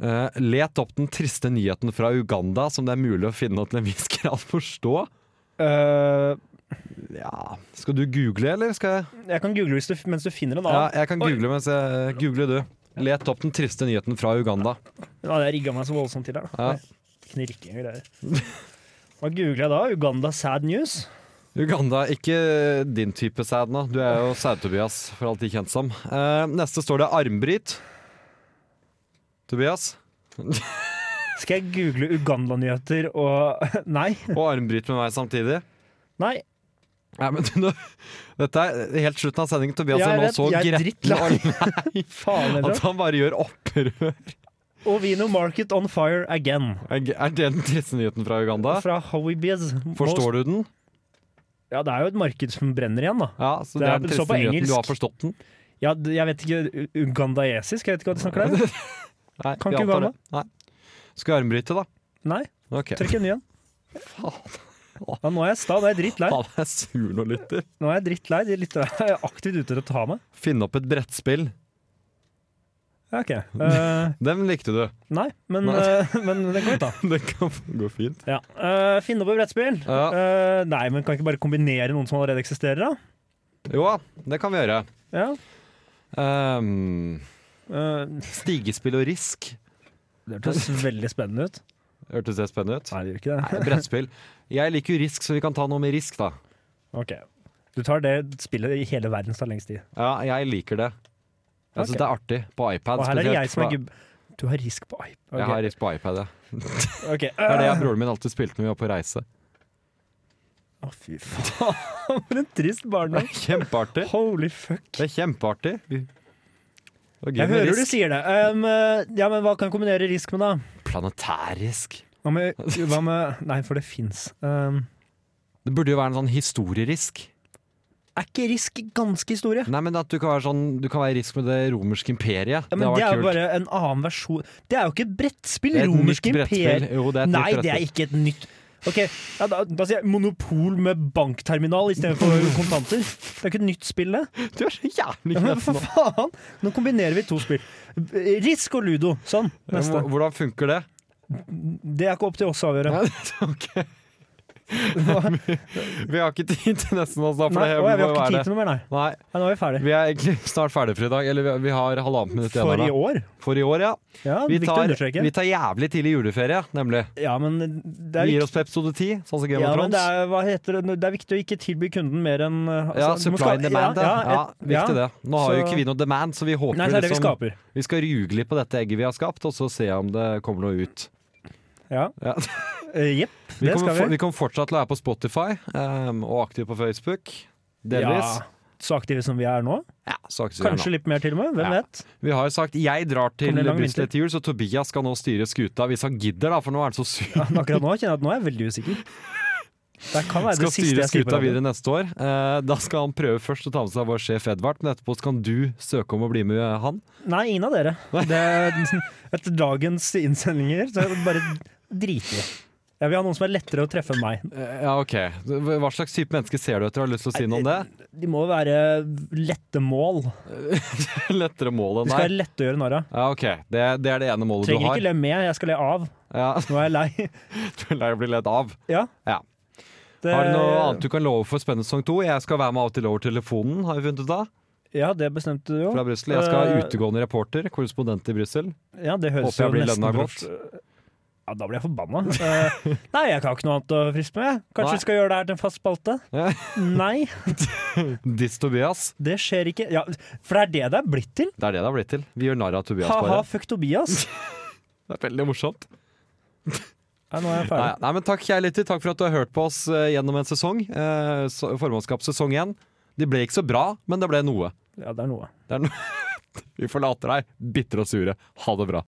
D: Eh, let opp den triste nyheten fra Uganda som det er mulig å finne og til en viss grad forstå.
E: Eh,
D: Ja. Skal du google, eller skal jeg?
E: jeg kan google hvis du, mens du finner en
D: Ja,
E: annen.
D: jeg kan
E: Oi.
D: google mens jeg Google, du. Let opp den triste nyheten fra Uganda.
E: Ja. Jeg rigga meg så voldsomt til her. da.
D: Ja.
E: Knirking og greier. Hva googler jeg da? Uganda sad news?
D: Uganda, ikke din type sæd nå. Du er jo sæd-Tobias, for alt de kjent som. Eh, neste står det armbryt. Tobias.
E: Skal jeg google Uganda-nyheter og Nei.
D: Og armbryt med meg samtidig.
E: Nei.
D: Nei, men du, nå, dette er helt slutten av sendingen. Tobias
E: Jeg
D: er nå
E: vet,
D: så
E: jeg er
D: gretten og
E: Faen
D: at
E: heller.
D: han bare gjør opprør.
E: Ovino market on fire again.
D: Er er det den triste nyheten fra Uganda?
E: Fra Howie Biz.
D: Forstår du den?
E: Ja, det er jo et marked som brenner igjen, da.
D: Ja, så
E: Det
D: det
E: er
D: er den
E: så på
D: triste nyheten.
E: engelsk.
D: Du har forstått den?
E: Ja, d- jeg vet ikke, u- ugandaesisk, jeg vet ikke hva de snakker der.
D: Nei,
E: Kan
D: vi
E: ikke
D: antar
E: Uganda.
D: det. Nei. Skal vi armbryte, da?
E: Nei,
D: Ok.
E: trykk en ny en.
D: Faen,
E: Ja, nå er jeg sta, nå er jeg drittlei.
D: han er sur nå, lytter.
E: Nå er jeg drittlei, de lytter er aktivt ute til å ta meg.
D: Finne opp et brettspill.
E: Ja, ok. Eh,
D: Den likte du.
E: nei, men,
D: Nei.
E: eh, men det går ut da.
D: Det kan gå fint.
E: Ja. eh, finne opp et brettspill.
D: Ja.
E: Eh, nei, men kan ikke bare kombinere noen som allerede eksisterer da?
D: Jo da, det kan vi gjøre.
E: Ja.
D: Ehm,
E: eh,
D: stigespill og risk.
E: det hørtes veldig spennende ut.
D: Hørtes det spennende ut?
E: Nei, det gjør ikke det.
D: Nei, brettspill. Jeg liker jo risk, så vi kan ta noe med risk, da.
E: Ok. Du tar det spillet i hele verdens tar lengst tid.
D: Ja, jeg liker det. Jeg syns
E: Ok.
D: det er artig. På iPad.
E: Og her er det
D: spesielt,
E: jeg som er
D: for da-
E: gubb. Du har risk på iPad.
D: Jeg har risk på iPad, ja.
E: Ok.
D: Det er det jeg og broren min alltid spilte når vi var på reise.
E: Å, fy faen. For en trist
D: Det
E: barndom.
D: er kjempeartig.
E: Holy fuck.
D: Det er kjempeartig. Vi- Det var gøy
E: Jeg
D: med
E: hører
D: risk.
E: du sier det. Um, eh, ja, men hva kan kombinere risk med, da?
D: Planetærrisk.
E: Hva med, hva med Nei, for det fins. Um,
D: Det burde jo være en sånn historierisk.
E: er ikke risk ganske historie?
D: Nei, men at du kan være sånn Du kan være i risk med det romerske imperiet.
E: Ja,
D: det
E: men
D: har
E: det
D: vært
E: er jo
D: kult.
E: bare en annen versjon. Det er jo ikke et brettspill!
D: Det er et
E: Romersk
D: nytt brettspill.
E: imperier.
D: Jo, det er et
E: Nei,
D: nytt
E: det er
D: brettspill.
E: ikke et nytt Ok, ja, da, da sier jeg monopol med bankterminal istedenfor kontanter. Det er ikke et nytt spill, det.
D: Du er så jævlig
E: Ja, men
D: knepp
E: for
D: nå.
E: faen! Nå kombinerer vi to spill. Risk og ludo. Sånn. Neste.
D: Hvor- Hvordan funker det?
E: Det er ikke opp til oss å avgjøre.
D: Ok. Vi har ikke tid til nesten oss, da. For
E: Nei,
D: det
E: å, ja, vi
D: må
E: har
D: jo
E: ikke
D: være
E: tid til noe mer, nei.
D: det. Nei,
E: Ja, nå er vi ferdig.
D: vi er egentlig snart ferdig for i dag. Eller vi- vi har halvannet minutt igjen.
E: For
D: her,
E: i
D: da.
E: år?
D: For i år, ja.
E: Ja,
D: Vi
E: viktig å
D: tar,
E: understreke.
D: vi tar jævlig tidlig juleferie, nemlig.
E: ja, men det er
D: Vi gir
E: viktig.
D: oss på episode 10, sånn som Game
E: Ja,
D: of
E: men det
D: Thrones.
E: er, hva heter det? det er viktig å ikke tilby kunden mer enn uh, altså,
D: Ja,
E: du må
D: supply and
E: ska-
D: demand. Ja,
E: ja,
D: ja,
E: et-
D: viktig det. Nå har jo
E: Så-
D: ikke vi noe demand, så vi håper
E: Nei, det er det vi
D: liksom
E: skaper.
D: Vi skal ruge litt på dette egget vi har skapt, og så se om det kommer noe ut.
E: Ja.
D: Ja.
E: Eh, Jepp,
D: Vi
E: det
D: kommer,
E: skal
D: for, vi
E: vi.
D: kommer fortsatt til å være på Spotify um, og aktive på Facebook. Delvis.
E: Ja, så aktive som vi er nå.
D: Ja, så aktive vi er nå.
E: Kanskje litt mer til og med, hvem
D: Ja.
E: vet.
D: Vi har jo sagt jeg drar til
E: Kommer det lang
D: Brussel
E: vinter?
D: etter jul, så Tobias skal nå styre skuta hvis han gidder, da, for nå er han så sur.
E: Men akkurat nå kjenner jeg at nå er jeg veldig usikker. Det kan være
D: Skal
E: det siste
D: styre
E: jeg sier på
D: skuta
E: radioen.
D: videre neste år. Eh, Da skal han prøve først å ta med seg vår sjef Edvard, men etterpå så kan du søke om å bli med han.
E: Nei, ingen av dere. Det, etter dagens innsendinger så er det bare driter vi. Jeg vil ha noen som er lettere å treffe enn meg.
D: Eh, Ja, ok. Hva slags type menneske ser du etter? Har du lyst til å si noe om det?
E: De må være lette mål.
D: Lettere mål
E: De
D: enn
E: skal
D: deg?
E: være lette å gjøre narr av.
D: Ja, ok. Det, det er det ene målet du
E: Trenger
D: har.
E: ikke le med, jeg skal le av.
D: Ja,
E: Nå er jeg lei.
D: du er lei å bli ledd av.
E: Ja.
D: Ja.
E: Det,
D: Har du noe annet du kan love for spennende sesong to? Jeg skal være med av og til over telefonen, har vi funnet ut av.
E: Ja, det bestemte du jo.
D: Fra Brussel. Jeg skal
E: Eh,
D: være utegående reporter, korrespondent i Brussel.
E: Ja, det høres
D: Håper jeg blir
E: jo nesten
D: lønna
E: bort- Ja, da blir jeg forbanna. Eh, nei, jeg har ikke noe annet å friste med. Kanskje
D: Nei.
E: vi skal gjøre det her til en fast spalte?
D: Ja.
E: Nei,
D: Diss Eh, Tobias.
E: det skjer ikke. Ja, for det er det det er blitt til.
D: Det er det det har blitt til. Vi gjør narr av Tobias
E: Ha-ha,
D: bare.
E: fuck Tobias.
D: Det er veldig morsomt.
E: Nei, nå er jeg ferdig.
D: Nei, nei, men takk kjære lytter. Takk for at du har hørt på oss eh, gjennom en sesong. Eh, så- Formannskapssesong igjen. Det ble ikke så bra, men det ble noe.
E: Ja, det er noe.
D: Vi forlater deg bitre og sure. Ha det bra.